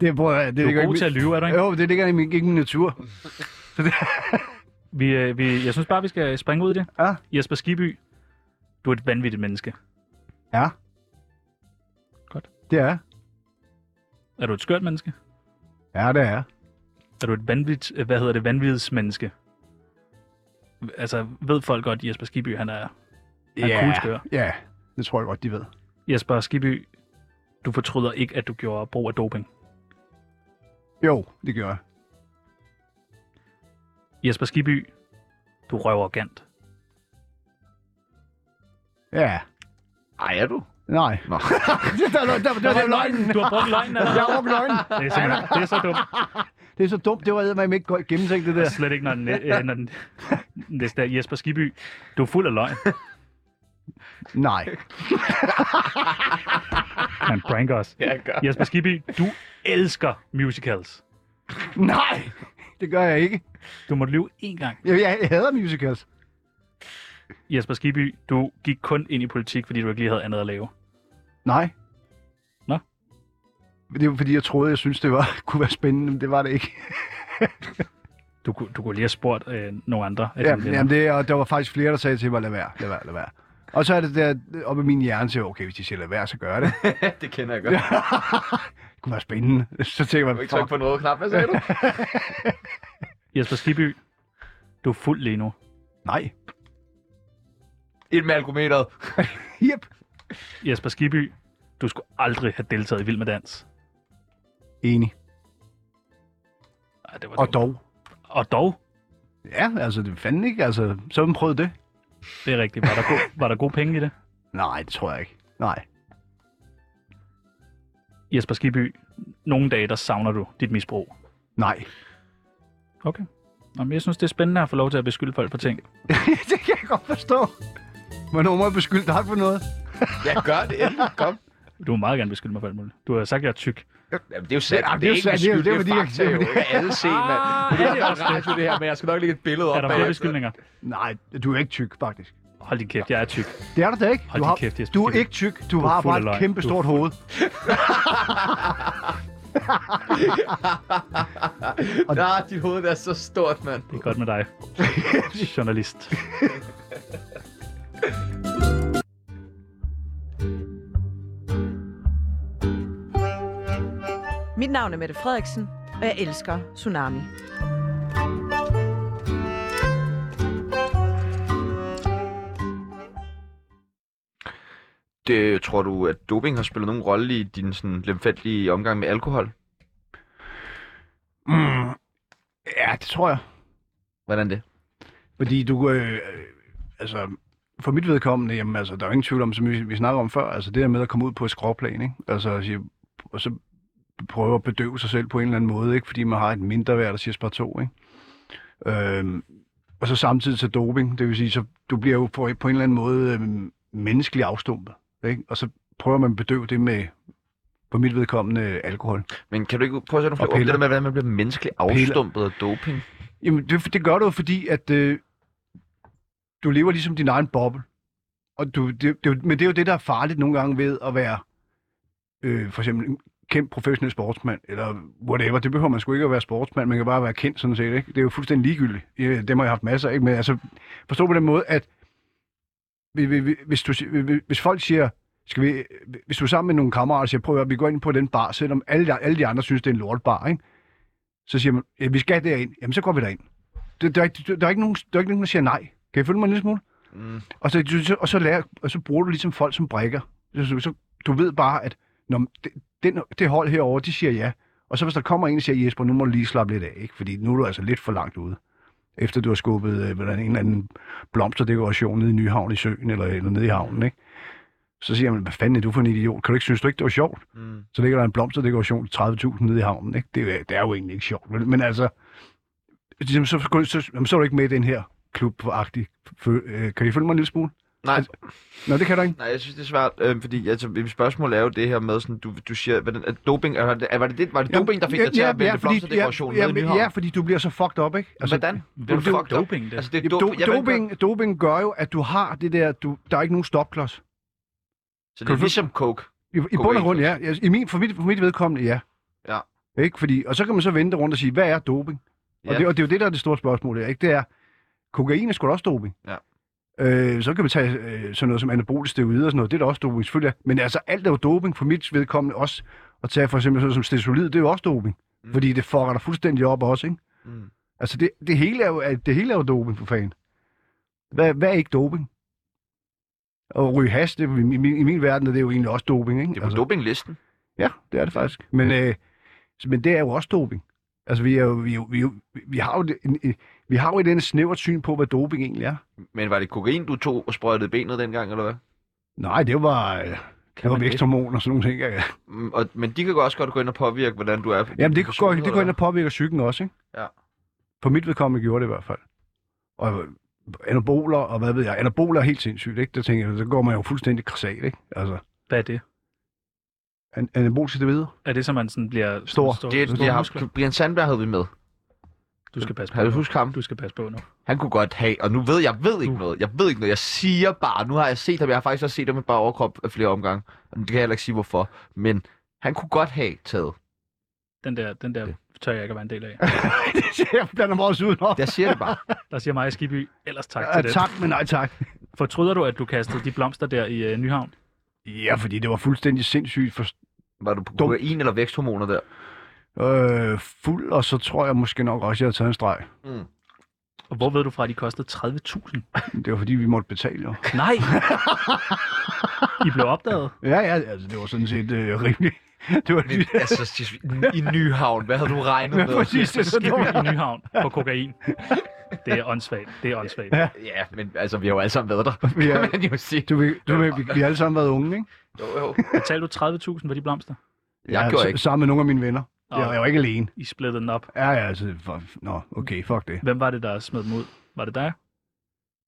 S3: Det, prøver, jeg- det
S2: Du
S3: ligger
S2: er
S3: i
S2: god
S3: min-
S2: til at lyve, er du ikke?
S3: Jo, det ligger i min, ikke i min natur.
S2: Vi, øh, vi, jeg synes bare, vi skal springe ud i det.
S3: Ja.
S2: Jesper Skiby, du er et vanvittigt menneske.
S3: Ja.
S2: Godt.
S3: Det er jeg.
S2: Er du et skørt menneske?
S3: Ja, det er jeg.
S2: Er du et vanvittigt, øh, hvad hedder det, vanvittighedsmenneske? Altså, ved folk godt, Jesper Skiby, han er... er kugleskør.
S3: ja, det tror jeg godt, de ved.
S2: Jesper Skiby, du fortryder ikke, at du gjorde brug af doping.
S3: Jo, det gør jeg.
S2: Jesper Skiby, du røver arrogant.
S3: Ja.
S1: Ej, er du? *laughs*
S3: Nej.
S1: Nå.
S3: det der, der, der, der, der, løgnen.
S2: Du har brugt løgnen, eller
S3: Jeg
S2: hvad?
S3: har brugt løgnen.
S2: Det er, simpelthen, det er så dumt.
S3: Det er så dumt. Det var eddermame ikke godt gennemtænkt, det
S2: Det
S3: der.
S2: er slet ikke, når den, øh, når den næste er Jesper Skiby. Du er fuld af løgn.
S3: Nej.
S2: Han pranker os.
S1: Ja, jeg gør.
S2: Jesper Skiby, du elsker musicals.
S3: Nej. Det gør jeg ikke.
S2: Du måtte lyve én gang.
S3: Jeg, jeg, jeg hader musicals.
S2: Jesper Skiby, du gik kun ind i politik, fordi du ikke lige havde andet at lave.
S3: Nej.
S2: Nå.
S3: Det var fordi, jeg troede, jeg synes det var, *laughs* kunne være spændende, men det var det ikke.
S2: Du, kunne- du kunne lige have spurgt øh, nogle andre. af
S3: Ja,
S2: dine venner.
S3: jamen det, og der var faktisk flere, der sagde til mig, lad være, lad være, lad være. Og så er det der, oppe i min hjerne siger, okay, hvis de siger, lad være, så gør jeg det. *laughs*
S1: det kender jeg godt. Ja.
S3: det kunne være spændende. *laughs* Så tænker
S1: Du
S3: man,
S1: ikke trykke
S3: fuck,
S1: på en rød knap, hvad sagde du?
S2: Jesper Skiby, du er fuld lige nu.
S1: *laughs*
S3: nej.
S1: Et med alkometeret.
S3: Yep.
S2: Jesper Skiby, du skulle aldrig have deltaget i Vild med Dans.
S3: Enig.
S2: Ej, det var
S3: Og
S2: dumt.
S3: dog.
S2: Og dog,
S3: Ja, altså, det fanden ikke, altså, så har man prøvet det.
S2: det er rigtigt. Var der, go- var der gode penge i det?
S3: Nej, det tror jeg ikke. Nej.
S2: Jesper Skiby, nogle dage, der savner du dit misbrug.
S3: Nej. *laughs*
S2: Okay. Jamen, jeg synes, det er spændende at få lov til at beskylde folk for ting.
S3: det kan jeg godt forstå. Hvornår må jeg beskylde dig for noget?
S1: Jeg gør det endelig. Kom.
S2: Du må meget gerne beskylde mig for alt muligt. Du har sagt, at jeg er tyk.
S1: Jamen, det er jo sandt.
S3: Ja, det er jo sandt.
S1: ikke en
S3: Det er jo-
S1: beskyld,
S3: det er jo fordi,
S1: fakta,
S3: jeg-
S1: jo.
S3: det er
S1: Det kan alle se, mand. Det er også radio, det her, men jeg skal nok lægge et billede op.
S2: Er der flere
S1: bagefter.
S2: beskyldninger?
S3: Nej, du er ikke tyk, faktisk.
S2: Hold din kæft, jeg er tyk.
S3: Det er du da ikke.
S2: Hold
S3: du
S2: din
S3: har,
S2: kæft, Jesper
S3: du er
S2: Skiby.
S3: ikke tyk. Du,
S2: er
S3: har
S2: fuld
S3: bare
S2: af løgn.
S3: et kæmpe
S2: Du er
S3: stort hoved.
S1: Nej, dit hoved er så stort, mand.
S2: Det er godt med
S3: *laughs*
S2: dig. Journalist.
S6: Mit navn er Mette Frederiksen, og jeg elsker Tsunami.
S1: Det, tror du, at doping har spillet nogen rolle i din sådan, lemfældige omgang med alkohol?
S3: Mm. Ja, det tror jeg.
S1: Hvordan det?
S3: Fordi du, øh, øh, altså, for mit vedkommende, jamen, altså, der er jo ingen tvivl om, som vi, vi snakker om før, altså det der med at komme ud på et skråplan, ikke? Altså, at sige, og så prøve at bedøve sig selv på en eller anden måde, ikke? Fordi man har et mindre værd, der siger spar to, ikke? Øhm, og så samtidig til doping, det vil sige, så du bliver jo på, på en eller anden måde øhm, menneskelig afstumpet, ikke? Og så prøver man at bedøve det med, på mit vedkommende, alkohol.
S1: Men kan du ikke prøve at sætte nogle flere ord
S3: Og
S1: på det
S3: piller.
S1: der med, hvordan man bliver menneskeligt afstumpet af doping?
S3: Jamen, det, det gør du jo, fordi, at øh, du lever ligesom din egen boble. Og du, det, det, er jo- men det er jo det, der er farligt nogle gange ved at være øh, for eksempel en kendt professionel sportsmand, eller whatever. Det behøver man sgu ikke at være sportsmand, man kan bare være kendt sådan set. Ikke? Det er jo fuldstændig ligegyldigt. Ja, dem har jeg haft masser, ikke? Men altså, forstå på den måde, at hvi- hvi- hvi- hvis, du, si- hvi- hvi- hvis folk siger, skal vi, hvis du er sammen med nogle kammerater og siger, prøv at høre, vi går ind på den bar, selvom alle, de- alle de andre synes, det er en lortbar, ikke? så siger man, ja, vi skal derind, jamen så går vi derind. Det, der, er ikke, der, er ikke nogen, der er ikke nogen, der siger nej. Kan I følge mig en lille smule?
S1: Mm.
S3: Og så, du- så- og så, lærer, og så bruger du ligesom folk som brækker. Så, så, så, du ved bare, at når, det, den, det hold herover, de siger ja. Og så hvis der kommer en og siger, Jesper, nu må du lige slappe lidt af, ikke? fordi nu er du altså lidt for langt ude. Efter du har skubbet øh, hvordan, en eller anden blomsterdekoration nede i Nyhavn i søen, eller, eller nede i havnen, ikke? Så siger man, hvad fanden er du for en idiot? Kan du ikke synes, du ikke, det var sjovt?
S1: Mm.
S3: Så ligger der en blomsterdekoration til 30.000 nede i havnen, ikke? Det, er- det er jo egentlig ikke sjovt, vel? Men altså, ligesom, så, så, så, jamen, så er du ikke med i den her klub-agtig. fø- øh, Kan I følge mig en lille smule?
S1: Nej,
S3: Nå, det kan du ikke.
S1: nej, jeg synes, det er svært, øh, fordi altså, mit spørgsmål er jo det her med, sådan, du, du siger, hvordan, at doping, er, det, er- var det, det, var det doping, der fik dig til at vælge blomsterdekorationen
S3: ja,
S1: med i
S3: ja, ja, fordi du bliver så fucked up, ikke?
S1: Altså, Hvordan?
S2: det er jo
S1: fucked up.
S2: doping, det.
S1: Altså, det er
S3: Jamen,
S1: do-
S3: do,
S1: jeg ved godt-
S3: doping, doping gør jo, at du har det der, du, der er ikke nogen stopklods.
S1: Så det
S3: Kan
S1: er
S3: du-
S1: ligesom coke.
S3: I, i bund og grund, ja. Ja, I min, for, mit, for mit vedkommende, ja.
S1: Ja.
S3: Ikke? Fordi, og så kan man så vente rundt og sige, hvad er doping? Og,
S1: Ja.
S3: det, og det er jo det, der er det store spørgsmål. her, Ikke? Det er, kokain er sgu da også doping.
S1: Ja.
S3: Øh, så kan man tage øh, sådan noget som anabolisk steroider og sådan noget. Det er da også doping, selvfølgelig. ja. Men altså, alt er jo doping for mit vedkommende også. At tage for eksempel sådan noget som stesolid, det er jo også doping.
S1: Mm.
S3: Mm. Fordi det fucker dig fuldstændig op også, ikke?
S1: Mm.
S3: Altså, det, det, hele er jo, er- det hele er jo doping for fanden. Hvad, hvad er ikke doping? Og ryge hash, det, er jo i, min, i min verden er det jo egentlig også doping, ikke? Altså,
S1: Det er på dopinglisten.
S3: Ja, det er det faktisk. Men, øh, så- men det er jo også doping. Altså, vi, er jo, vi, er jo, vi, er jo, vi har jo det- en, en- vi har jo et eller andet snævert syn på, hvad doping egentlig er.
S1: Men var det kokain, du tog og sprøjtede i benet dengang, eller hvad?
S3: Nej, det var, øh, det var
S2: man det?
S3: væksthormon og sådan nogle ting. Ja.
S1: Mm, Og, men de kan også godt gå ind og påvirke, hvordan du er.
S3: Jamen, det, går, det går ind
S1: og...
S3: og påvirker psyken også, ikke?
S1: Ja.
S3: På mit vedkommende gjorde det i hvert fald. Og anaboler og hvad ved jeg. Anaboler er helt sindssygt, ikke? Der tænker jeg, så går man jo fuldstændig krasat, ikke? Altså,
S2: Hvad er det?
S3: an- anaboliske det videre.
S2: Er det, så man sådan bliver...
S3: Stor.
S2: Stor,
S1: Det,
S2: store
S1: det
S2: muskler?
S1: har, Brian Sandberg havde vi med.
S2: Du skal passe på.
S1: Kan du
S2: nu.
S1: huske ham?
S2: Du skal passe på nu.
S1: Han kunne godt have, og nu ved jeg ved ikke noget. Jeg ved ikke noget. Jeg siger bare, nu har jeg set ham. Jeg har faktisk også set ham med bare overkrop af flere omgange. Og Det kan jeg heller ikke sige, hvorfor. Men han kunne godt have taget.
S2: Den der, den der tør jeg ikke at være en
S3: *laughs*
S2: del af.
S3: *laughs* det ser jeg blander mig også ud over.
S1: Jeg siger det *laughs* bare.
S2: Der siger mig Skibby, ellers tak
S3: Ja,
S2: til det.
S3: tak, men nej tak.
S2: Fortryder du, at du kastede de blomster der i uh, Nyhavn?
S3: Ja, fordi det var fuldstændig sindssygt for,
S1: Var du på
S3: Dum.
S1: kokain eller væksthormoner der?
S3: Øh, fuld, og så tror jeg måske nok også, at jeg har taget en streg.
S2: Og hvor ved du fra, at de kostede 30.000?
S3: Det var fordi, vi måtte betale, jo.
S2: Nej! I blev opdaget.
S3: Ja, ja, altså, det var sådan set øh, rimeligt. *laughs* Det var
S1: Men, altså, i Nyhavn, hvad havde du regnet
S3: Ja,
S1: med?
S3: *laughs* præcis, det er sådan
S2: Skibby
S3: noget.
S2: i Nyhavn på
S3: *laughs*
S2: kokain. Det er åndssvagt. Det er åndssvagt.
S3: Ja.
S1: Ja, men altså, vi har jo alle sammen *laughs* været der.
S3: Vi er-
S1: Kan man jo sige.
S3: Du, ved- du, ved, vi, vi har alle sammen været unge, ikke?
S1: Jo, jo. altså,
S2: Betalte du 30.000 for de blomster?
S1: Jeg gjorde
S3: s-
S1: ikke.
S3: Sammen med nogle af mine venner.
S2: Nå.
S3: Jeg, jeg var ikke alene.
S2: I splittede den op.
S3: Ja, ja, altså, for, nå, okay, fuck det.
S2: Hvem var det, der smed dem ud? Var det dig?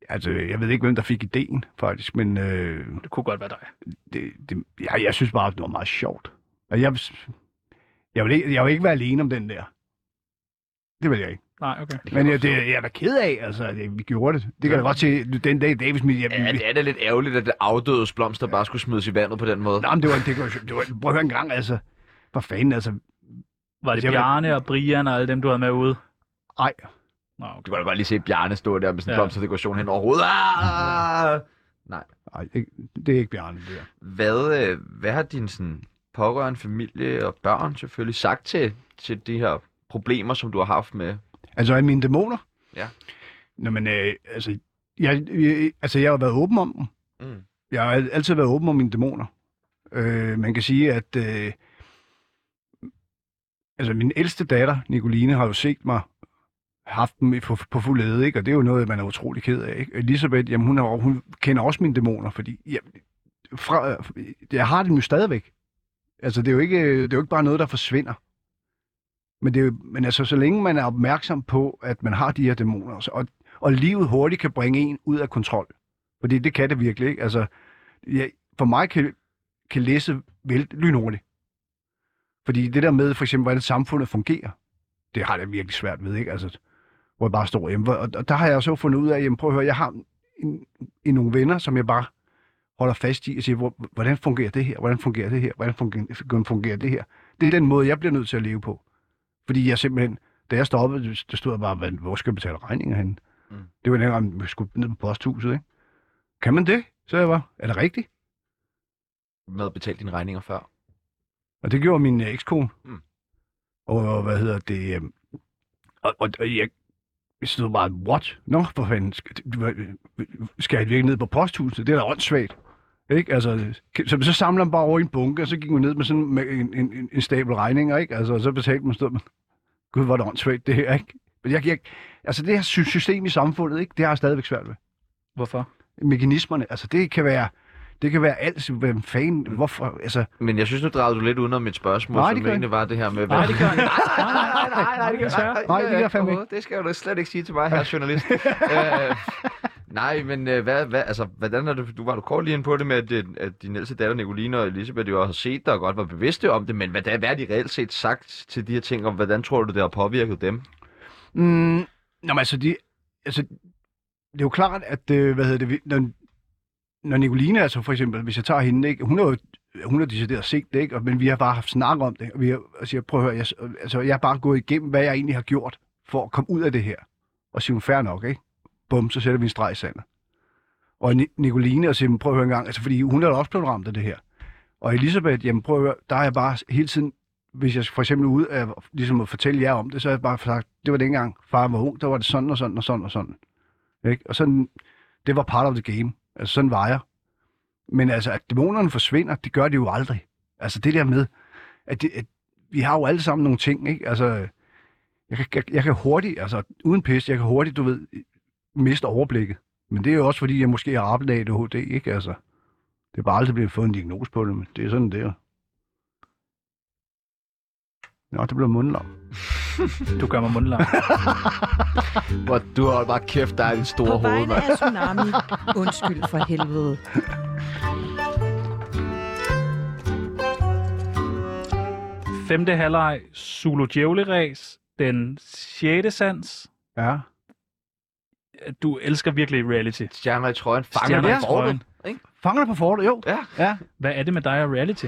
S3: Altså, jeg ved ikke, hvem der fik ideen, faktisk, men øh,
S2: Det kunne godt være dig.
S3: det, det, ja, jeg synes bare, det var meget sjovt. Og jeg, jeg, vil ikke, jeg vil ikke være alene om den der. Det vil jeg ikke.
S2: Nej, okay.
S3: Men jeg, det, jeg er da ked af, altså, at vi gjorde det. Det kan jeg da godt se den dag i dag, hvis min... Jeg,
S1: Ja, det er da lidt ærgerligt, at det afdødes blomster bare skulle smides i vandet på den måde.
S3: Nej, men det var en dekoration. Det var, prøv at høre en gang, altså. Hvad fanden, altså.
S2: Var det
S3: Jeg vil-
S2: Bjarne og Brian og alle dem, du havde med ude?
S3: Ej,
S2: Nå, okay.
S1: Du kan da godt lige se Bjarne stå der med sådan en
S2: Ja.
S1: ja. blomsterdekoration hen over hovedet. Ah!
S3: ej, ikke- det er ikke Bjarne, det der.
S1: Hvad, øh, hvad har din sådan, pårørende, familie og børn selvfølgelig sagt til, til de her problemer, som du har haft med?
S3: Altså, er mine dæmoner?
S1: Ja.
S3: Nå, men, øh, altså, jeg, jeg, altså, jeg har været åben om dem.
S1: Mm.
S3: Jeg har al- altid været åben om mine dæmoner. Øh, man kan sige, at... Øh, altså, min ældste datter, Nicoline, har jo set mig haft dem i- på, på fuld æde, ikke? Og det er jo noget, man er utrolig ked af, ikke? Elisabeth, jamen, hun, har, hun kender også mine dæmoner, fordi... Jamen, fra, jeg har dem jo stadigvæk. Altså, det er jo, ikke, det er jo ikke bare noget, der forsvinder. Men, det er jo, men altså, så længe man er opmærksom på, at man har de her dæmoner, så- og, og livet hurtigt kan bringe en ud af kontrol. Fordi det kan det virkelig, ikke? Altså, jeg, for mig kan, kan læse vel, lynhurtigt. Fordi det der med, for eksempel, hvordan samfundet fungerer, det har jeg virkelig svært ved, ikke? Altså, hvor jeg bare stod hjemme. Og, og der har jeg så fundet ud af, jamen prøv at høre, jeg har en, en nogle venner, som jeg bare holder fast i og siger, hvor, hvordan fungerer det her? Hvordan fungerer det her? Hvordan fungerer, fungerer det her? Det er den måde, jeg bliver nødt til at leve på. Fordi jeg simpelthen, da jeg stoppede, der stod jeg bare, "Hvad- hvor skal jeg betale regninger hen? Mm.
S1: Mm.
S3: Det var dengang, vi skulle ned på posthuset, ikke? Kan man det? Så jeg var, er det rigtigt?
S1: med at betale dine regninger før.
S3: Og det gjorde min øh, ekskone. Mm.
S1: Mm.
S3: Og, og hvad hedder det? øhm, Og, og, og jeg jeg stod bare, what? Nå, for fanden, skal, du- hvad- skal jeg virkelig ned på posthuset? Det er da åndssvagt. Ikke? Altså, så, så samler man bare over i en bunke, og så gik man ned med sådan med en, en, en- en stabel regninger, ikke? Altså, og så betalte man, stod man, gud, hvor er det åndssvagt det her, ikke? Men jeg, jeg, altså, det her sy- system i samfundet, ikke? Det har jeg stadigvæk svært ved
S2: Hvorfor?
S3: mekanismerne. Altså, det kan være, det kan være alt, hvem fanden, hvorfor, altså...
S1: Men jeg synes, nu drejede du lidt udenom mit spørgsmål,
S3: Nej,
S1: nej,
S3: det
S1: som
S3: gør jeg
S1: egentlig var det her med...
S2: Ah. *laughs* Nej, det gør jeg ikke.
S1: nej, nej, nej, *laughs* nej, det gør jeg
S3: Nej, det gør jeg fandme
S1: overhovedet. Det skal jeg jo da slet ikke sige til mig,
S3: *laughs*
S1: her journalist. øh, nej, men øh, hvad, hvad, altså, hvordan er det, du var du kort lige inde på det med, at, din- at din ældste datter, Nicoline og Elisabeth, jo har set dig og godt var bevidste om det, men hvad, hvad har de reelt set sagt til de her ting, og hvordan tror du, det har påvirket dem?
S3: Mm, nå, men altså, de, altså, det er jo klart, at, øh, hvad hedder det, vi- når, når Nicoline, altså for eksempel, hvis jeg tager hende, ikke, hun er jo hun har decideret set det, ikke? Og- men vi har bare haft snak om det, og vi har, altså, jeg, prøv at høre, jeg, altså, jeg har bare gået igennem, hvad jeg egentlig har gjort for at komme ud af det her, og sige, fair nok, ikke? Bum, så sætter vi en streg i sandet. Og Ni- Nicoline, og siger, prøv at høre en gang, altså, fordi hun er da også blevet ramt af det her. Og Elisabeth, jamen prøv at høre, der er jeg bare hele tiden hvis jeg for eksempel er ude af, ligesom at fortælle jer om det, så har jeg bare sagt, det var dengang far var ung, der var det sådan og sådan og sådan og sådan. Ikke? Og sådan, det var part of the game. Altså sådan var jeg. Men altså, at dæmonerne forsvinder, det gør de jo aldrig. Altså det der med, at, det, at vi har jo alle sammen nogle ting, ikke? Altså, jeg kan, jeg, jeg kan hurtigt, altså uden pis, jeg kan hurtigt, du ved, miste overblikket. Men det er jo også, fordi jeg måske har arbejdet ADHD, ikke? Altså, det er bare aldrig blevet fået en diagnose på det, men det er sådan, det er. Nå, det blev mundlam.
S2: Du gør mig mundlam.
S7: Hvor du har bare kæft, der er en stor
S6: På
S7: hoved,
S6: vegne
S7: mand.
S6: af Tsunami. Undskyld for helvede.
S2: Femte halvleg, Zulu Djævleræs, den sjette sans.
S3: Ja.
S2: Du elsker virkelig reality.
S1: Stjerner i trøjen, fanger
S2: Stjerner i
S1: dig i trøjen.
S2: trøjen.
S3: Fanger dig på fortet, jo.
S1: Ja.
S3: ja.
S2: Hvad er det med dig og reality?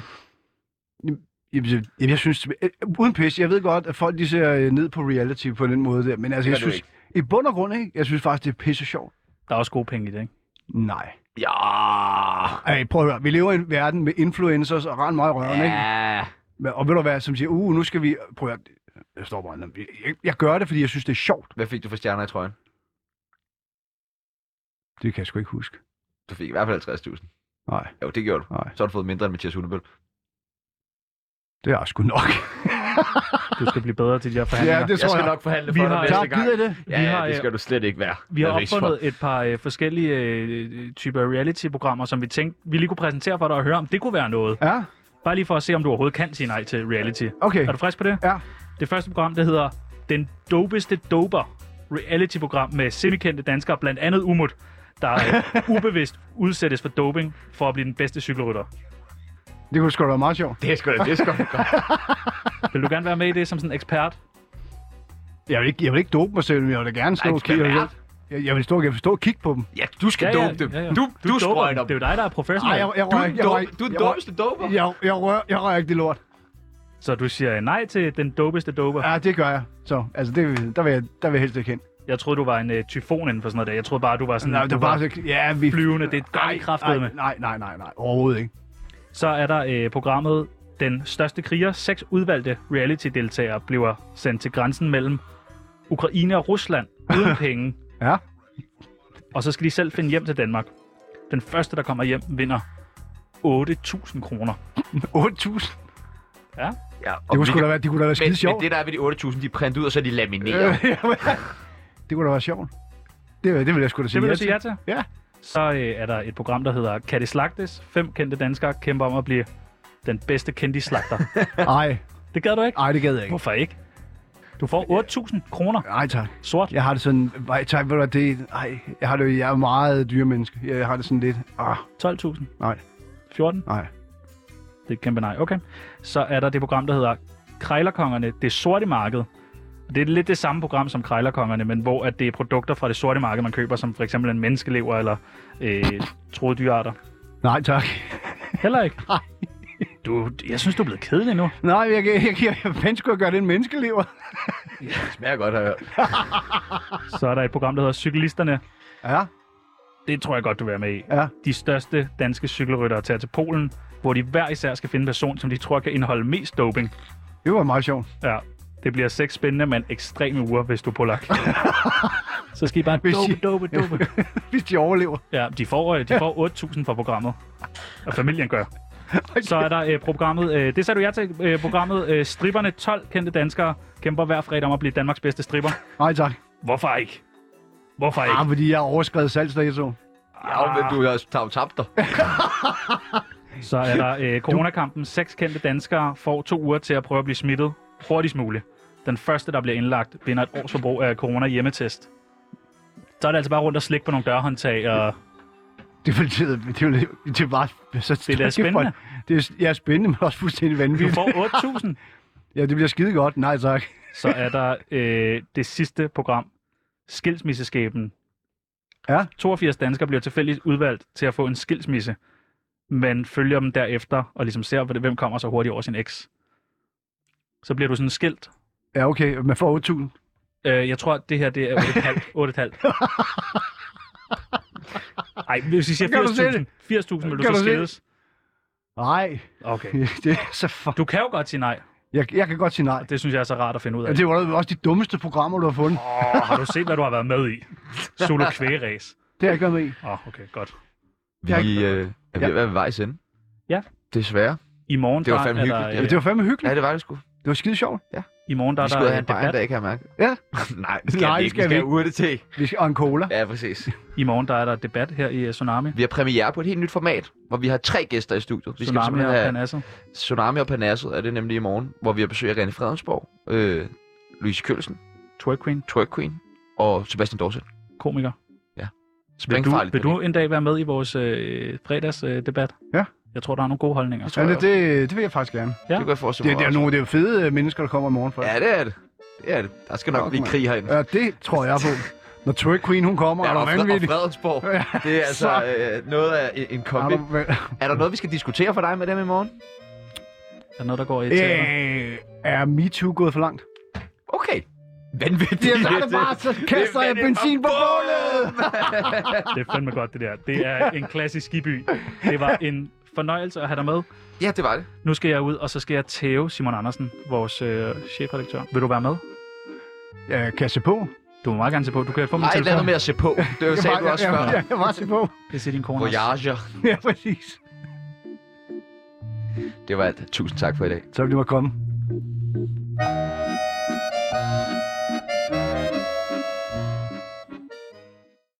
S3: Jamen, jeg, jamen, jeg synes, øh, uden pis, jeg ved godt, at folk de ser øh, ned på reality på den måde der, men altså, jeg
S1: gør du
S3: synes, i bund og grund, ikke? jeg synes faktisk, det er pisse sjovt.
S2: Der er også gode penge i det, ikke?
S3: Nej.
S1: Ja,
S3: Ej, prøv at høre, vi lever i en verden med influencers og rent meget røven, ikke?
S1: ja.
S3: Men- Og ved du hvad, som siger, uh, nu skal vi, prøv at jeg står bare, jeg, jeg, jeg gør det, fordi jeg synes, det er sjovt.
S1: Hvad fik du for stjerner i trøjen?
S3: Det kan jeg sgu ikke huske.
S1: Du fik i hvert fald 50.000.
S3: Nej,
S1: Jo, det gjorde du.
S3: nej,
S1: Så har du fået mindre end Mathias Hundebøl.
S3: det er jeg
S1: *laughs*
S3: sgu nok.
S2: Du skal blive bedre til de her forhandlinger.
S3: ja, det tror jeg.
S1: nok forhandle
S2: Vi har-
S3: Tak, gider I det?
S2: Ja, Vi har, det øh, skal
S1: du slet ikke være.
S2: Vi har opfundet et par øh, forskellige øh, typer reality-programmer, som vi tænkte, vi lige kunne præsentere for dig og høre, om det kunne være noget.
S3: Ja,
S2: Bare lige for at se, om du overhovedet kan sige nej til reality.
S3: okay.
S2: Er du frisk på det?
S3: Ja.
S2: Det første program, det hedder Den Dopeste Doper. Reality-program med semikendte danskere, blandt andet Umut, der
S3: *laughs*
S2: øh, ubevidst udsættes for doping for at blive den bedste cykelrytter.
S3: Det kunne sgu da være meget sjovt.
S1: Det er sgu da, det er sgu da godt.
S2: Vil du gerne være med i det som sådan en ekspert?
S3: Jeg vil ikke, jeg vil ikke dope mig selv, men jeg vil da gerne stå
S1: Ej,
S3: og
S1: det skal
S3: kigge.
S1: være.
S3: og hjælpe. Jeg, jeg vil stå, jeg vil stå og kigge på dem.
S1: Ja, du skal dope dem. Du, du,
S2: doper
S1: sprøjter
S2: dem. Det er
S1: dem.
S2: jo dig, der er professionel.
S3: jeg, jeg
S1: Du
S3: rører
S1: er
S3: ikke,
S1: den
S3: jeg rører
S1: dope-
S3: ikke.
S1: du er den
S3: jeg rører-
S1: dopeste doper.
S3: Jeg, jeg, rører, jeg rører ikke det lort.
S2: Så du siger nej til Den Dopeste Doper.
S3: Ja, det gør jeg. Så, altså, det, der, vil jeg, der vil jeg helst ikke hen.
S2: Jeg troede, du var en øh, tyfon inden for sådan noget der. Jeg troede bare, du var sådan
S3: Nej,
S2: du
S3: det er bare så... Ja, vi...
S2: flyvende. Det gør vi kraftedeme.
S3: nej, nej, nej, nej, nej, overhovedet ikke.
S2: Så er der øh, programmet Den Største Kriger. Seks udvalgte reality-deltagere bliver sendt til grænsen mellem Ukraine og Rusland *laughs* uden penge.
S3: Ja.
S2: Og så skal de selv finde hjem til Danmark. Den første, der kommer hjem, vinder 8.000 kroner.
S3: 8.000.
S2: Ja.
S1: Ja, og
S3: Det kunne
S1: vi
S3: sgu da
S1: kan-
S3: være, det kunne da være
S1: men,
S3: skide
S1: men
S3: sjovt.
S1: det der er ved de 8.000, de er printet ud, og så er de
S3: *laughs*
S1: lamineret.
S3: Øh, jamen, det kunne da være sjovt. Det, det vil jeg sgu da
S2: Det
S3: sige
S2: vil
S3: ja
S2: du sige ja til?
S3: Ja.
S2: Så øh, er der et program, der hedder Kan det slagtes? Fem kendte danskere kæmper om at blive den bedste kendte *laughs* slagter.
S3: Nej,
S2: det gad du ikke?
S3: nej, det gad jeg ikke.
S2: Hvorfor ikke? Du får 8.000 kroner
S3: Nej, tak.
S2: sort.
S3: Jeg har det sådan... Nej, tak, ved du hvad, det... Nej, jeg har det... Jeg er meget dyre menneske. Jeg har det sådan lidt... Ah,
S2: 12.000.
S3: nej,
S2: 14.
S3: nej.
S2: Det er et kæmpe nej. Okay. Så er der det program, der hedder Krejlerkongerne, det sorte marked. Det er lidt det samme program som Krejlerkongerne, men hvor at det er produkter fra det sorte marked, man køber, som for eksempel en menneskelever eller øh, troede dyrearter.
S3: Nej, tak. *laughs*
S2: Heller ikke. Du, jeg synes, du er blevet kedelig nu.
S3: Nej, jeg, jeg, jeg, jeg, jeg fanden skulle jeg gøre det en menneskelever?
S7: Det smager godt, har jeg hørt.
S2: Så er der et program, der hedder Cyklisterne.
S3: Ja,
S2: Det tror jeg godt, du vil være med i.
S3: ja.
S2: De største danske cykelryttere tager til Polen, hvor de hver især skal finde en person, som de tror kan indeholde mest doping.
S3: Det var meget sjovt. *laughs*
S2: Ja. Det bliver seks spændende, men ekstreme uger, hvis du er polak. *laughs* Så skal I bare
S3: Hvis I-
S2: dope, dope, dope.
S3: Hvis de overlever.
S2: *laughs* Ja, de får, øh, de får 8.000 fra programmet. Og familien
S3: *laughs*
S2: gør. Så er der øh, programmet, øh, det sagde du ja til, øh, programmet øh, Stripperne 12 kendte danskere kæmper hver fredag om at blive Danmarks bedste stripper.
S3: Nej, tak.
S2: Hvorfor ikke? Hvorfor ikke?
S3: Ah, fordi jeg har overskrevet salgsdatoen.
S7: Ja, men du har også tabt- tabt dig.
S2: Så er der øh, coronakampen. Seks kendte danskere får to uger til at prøve at blive smittet hurtigst muligt. Den første, der bliver indlagt, vinder et års forbrug af corona hjemmetest. Så er det altså bare rundt og slik på nogle dørhåndtag. Og...
S3: Det var, det, det, var, det var så
S2: Det er da spændende.
S3: Det er, ja, spændende, men også fuldstændig
S2: Du
S3: vanvittigt.
S2: får 8.000.
S3: Ja, det bliver skide godt. Nej, tak.
S2: Så er der øh, det sidste program, Skilsmisseskæben.
S3: Ja.
S2: 82 danskere bliver tilfældigt udvalgt til at få en skilsmisse, men følger dem derefter og ligesom ser, hvem kommer så hurtigt over sin eks. Så bliver du sådan skilt.
S3: Ja, okay. Man får 8.000.
S2: Øh, jeg tror, det her det er
S3: *laughs*
S2: 8,5. 8,5. Ej, hvis I siger
S3: Kan du se
S2: 80.000, 80.000 vil du
S3: Kan
S2: så
S3: du se det?
S2: skilles.
S3: Nej,
S2: Okay.
S3: *laughs* det er så fuck.
S2: Du kan jo godt sige nej.
S3: Jeg, jeg kan godt sige nej.
S2: Det synes jeg er så rart at finde ud af.
S3: Ja, det var da også de dummeste programmer, du har fundet.
S2: Åh, har du set, hvad du har været med i? Solo kvægeræs.
S3: Det har jeg ikke været med i.
S2: Åh, oh, okay, godt.
S1: Vi
S3: Jeg-
S1: øh, er ved
S3: Ja.
S1: at være ved vejs ende.
S2: Ja.
S1: Desværre.
S2: I morgen,
S1: Det var
S2: der
S1: fandme
S2: er
S1: hyggeligt.
S2: Der,
S1: Ja,
S3: Ja,
S2: øh,
S3: det var fandme hyggeligt.
S1: Ja, det var det sgu.
S3: Det var skide sjovt.
S2: I morgen, der
S1: Vi
S2: er
S1: skulle
S2: der
S1: have
S2: en
S1: en bare
S2: debat.
S1: en dag, kan jeg mærke.
S3: Ja.
S1: Nej, det skal
S3: Nej,
S1: vi
S3: det
S1: ikke.
S3: skal vi
S1: vi have
S3: ikke.
S1: urte til.
S3: Vi skal, og en cola.
S1: Ja, præcis.
S2: I morgen, der er der debat her i øh, Tsunami.
S1: Vi har premiere på et helt nyt format, hvor vi har tre gæster i studiet. Vi skal
S2: Tsunami og
S1: simpelthen have
S2: Panasset.
S1: Tsunami og Panasset, er det nemlig i morgen, hvor vi har besøg af René Fredensborg, øh, Louise Kølsen,
S2: Twerk Queen,
S1: Twerk Queen og Sebastian Dorset.
S2: komiker. Vil du,
S1: Springfarligt.
S2: vil du en dag være med i vores øh, fredagsdebat? Øh, debat?
S3: Ja.
S2: Jeg tror, der er nogle gode holdninger.
S1: tror
S3: Ja,
S1: jeg
S3: det,
S1: også.
S3: det, det vil jeg faktisk gerne.
S1: Det kan jeg forestille
S3: Det,
S1: mig
S3: det, er
S1: også.
S3: nogle det er jo fede øh, mennesker, der kommer i morgen for.
S1: Ja, det er det. Det er det. Der skal nok
S3: Fuck,
S1: blive
S3: mand.
S1: krig herinde.
S3: ja, det tror jeg på. Når Twerk Queen, hun kommer,
S1: Ja,
S3: er
S1: og,
S3: du
S1: Fred- og
S3: vanvittig.
S1: Fredensborg.
S3: Ja,
S1: Det er altså
S3: så-
S1: øh, noget af en, en
S3: Er
S1: kombi.
S3: du va-
S1: Er der noget, vi skal diskutere for dig med dem i morgen?
S2: Er der noget, der går i teater?
S3: Øh, er MeToo gået for langt?
S1: Okay. Vanvittigt.
S3: Ja, så er det bare, så kaster jeg benzin på bålet!
S2: Det er fandme godt, det der. Det er en klassisk skiby. Det var en fornøjelse at have dig med.
S1: Ja, det var det.
S2: Nu skal jeg ud, og så skal jeg tæve Simon Andersen, vores øh, chefredaktør. Vil du være med?
S3: Ja, kasse på.
S2: Du må meget gerne se på. Du kan få min
S1: Ej, lad
S2: telefon.
S1: være med at se på. Det sagde du også før.
S3: Ja, jeg var se på.
S2: Det siger din kone også.
S1: Voyager.
S3: Ja, præcis.
S1: Det var alt. Tusind tak for i dag.
S3: Så vil du må komme.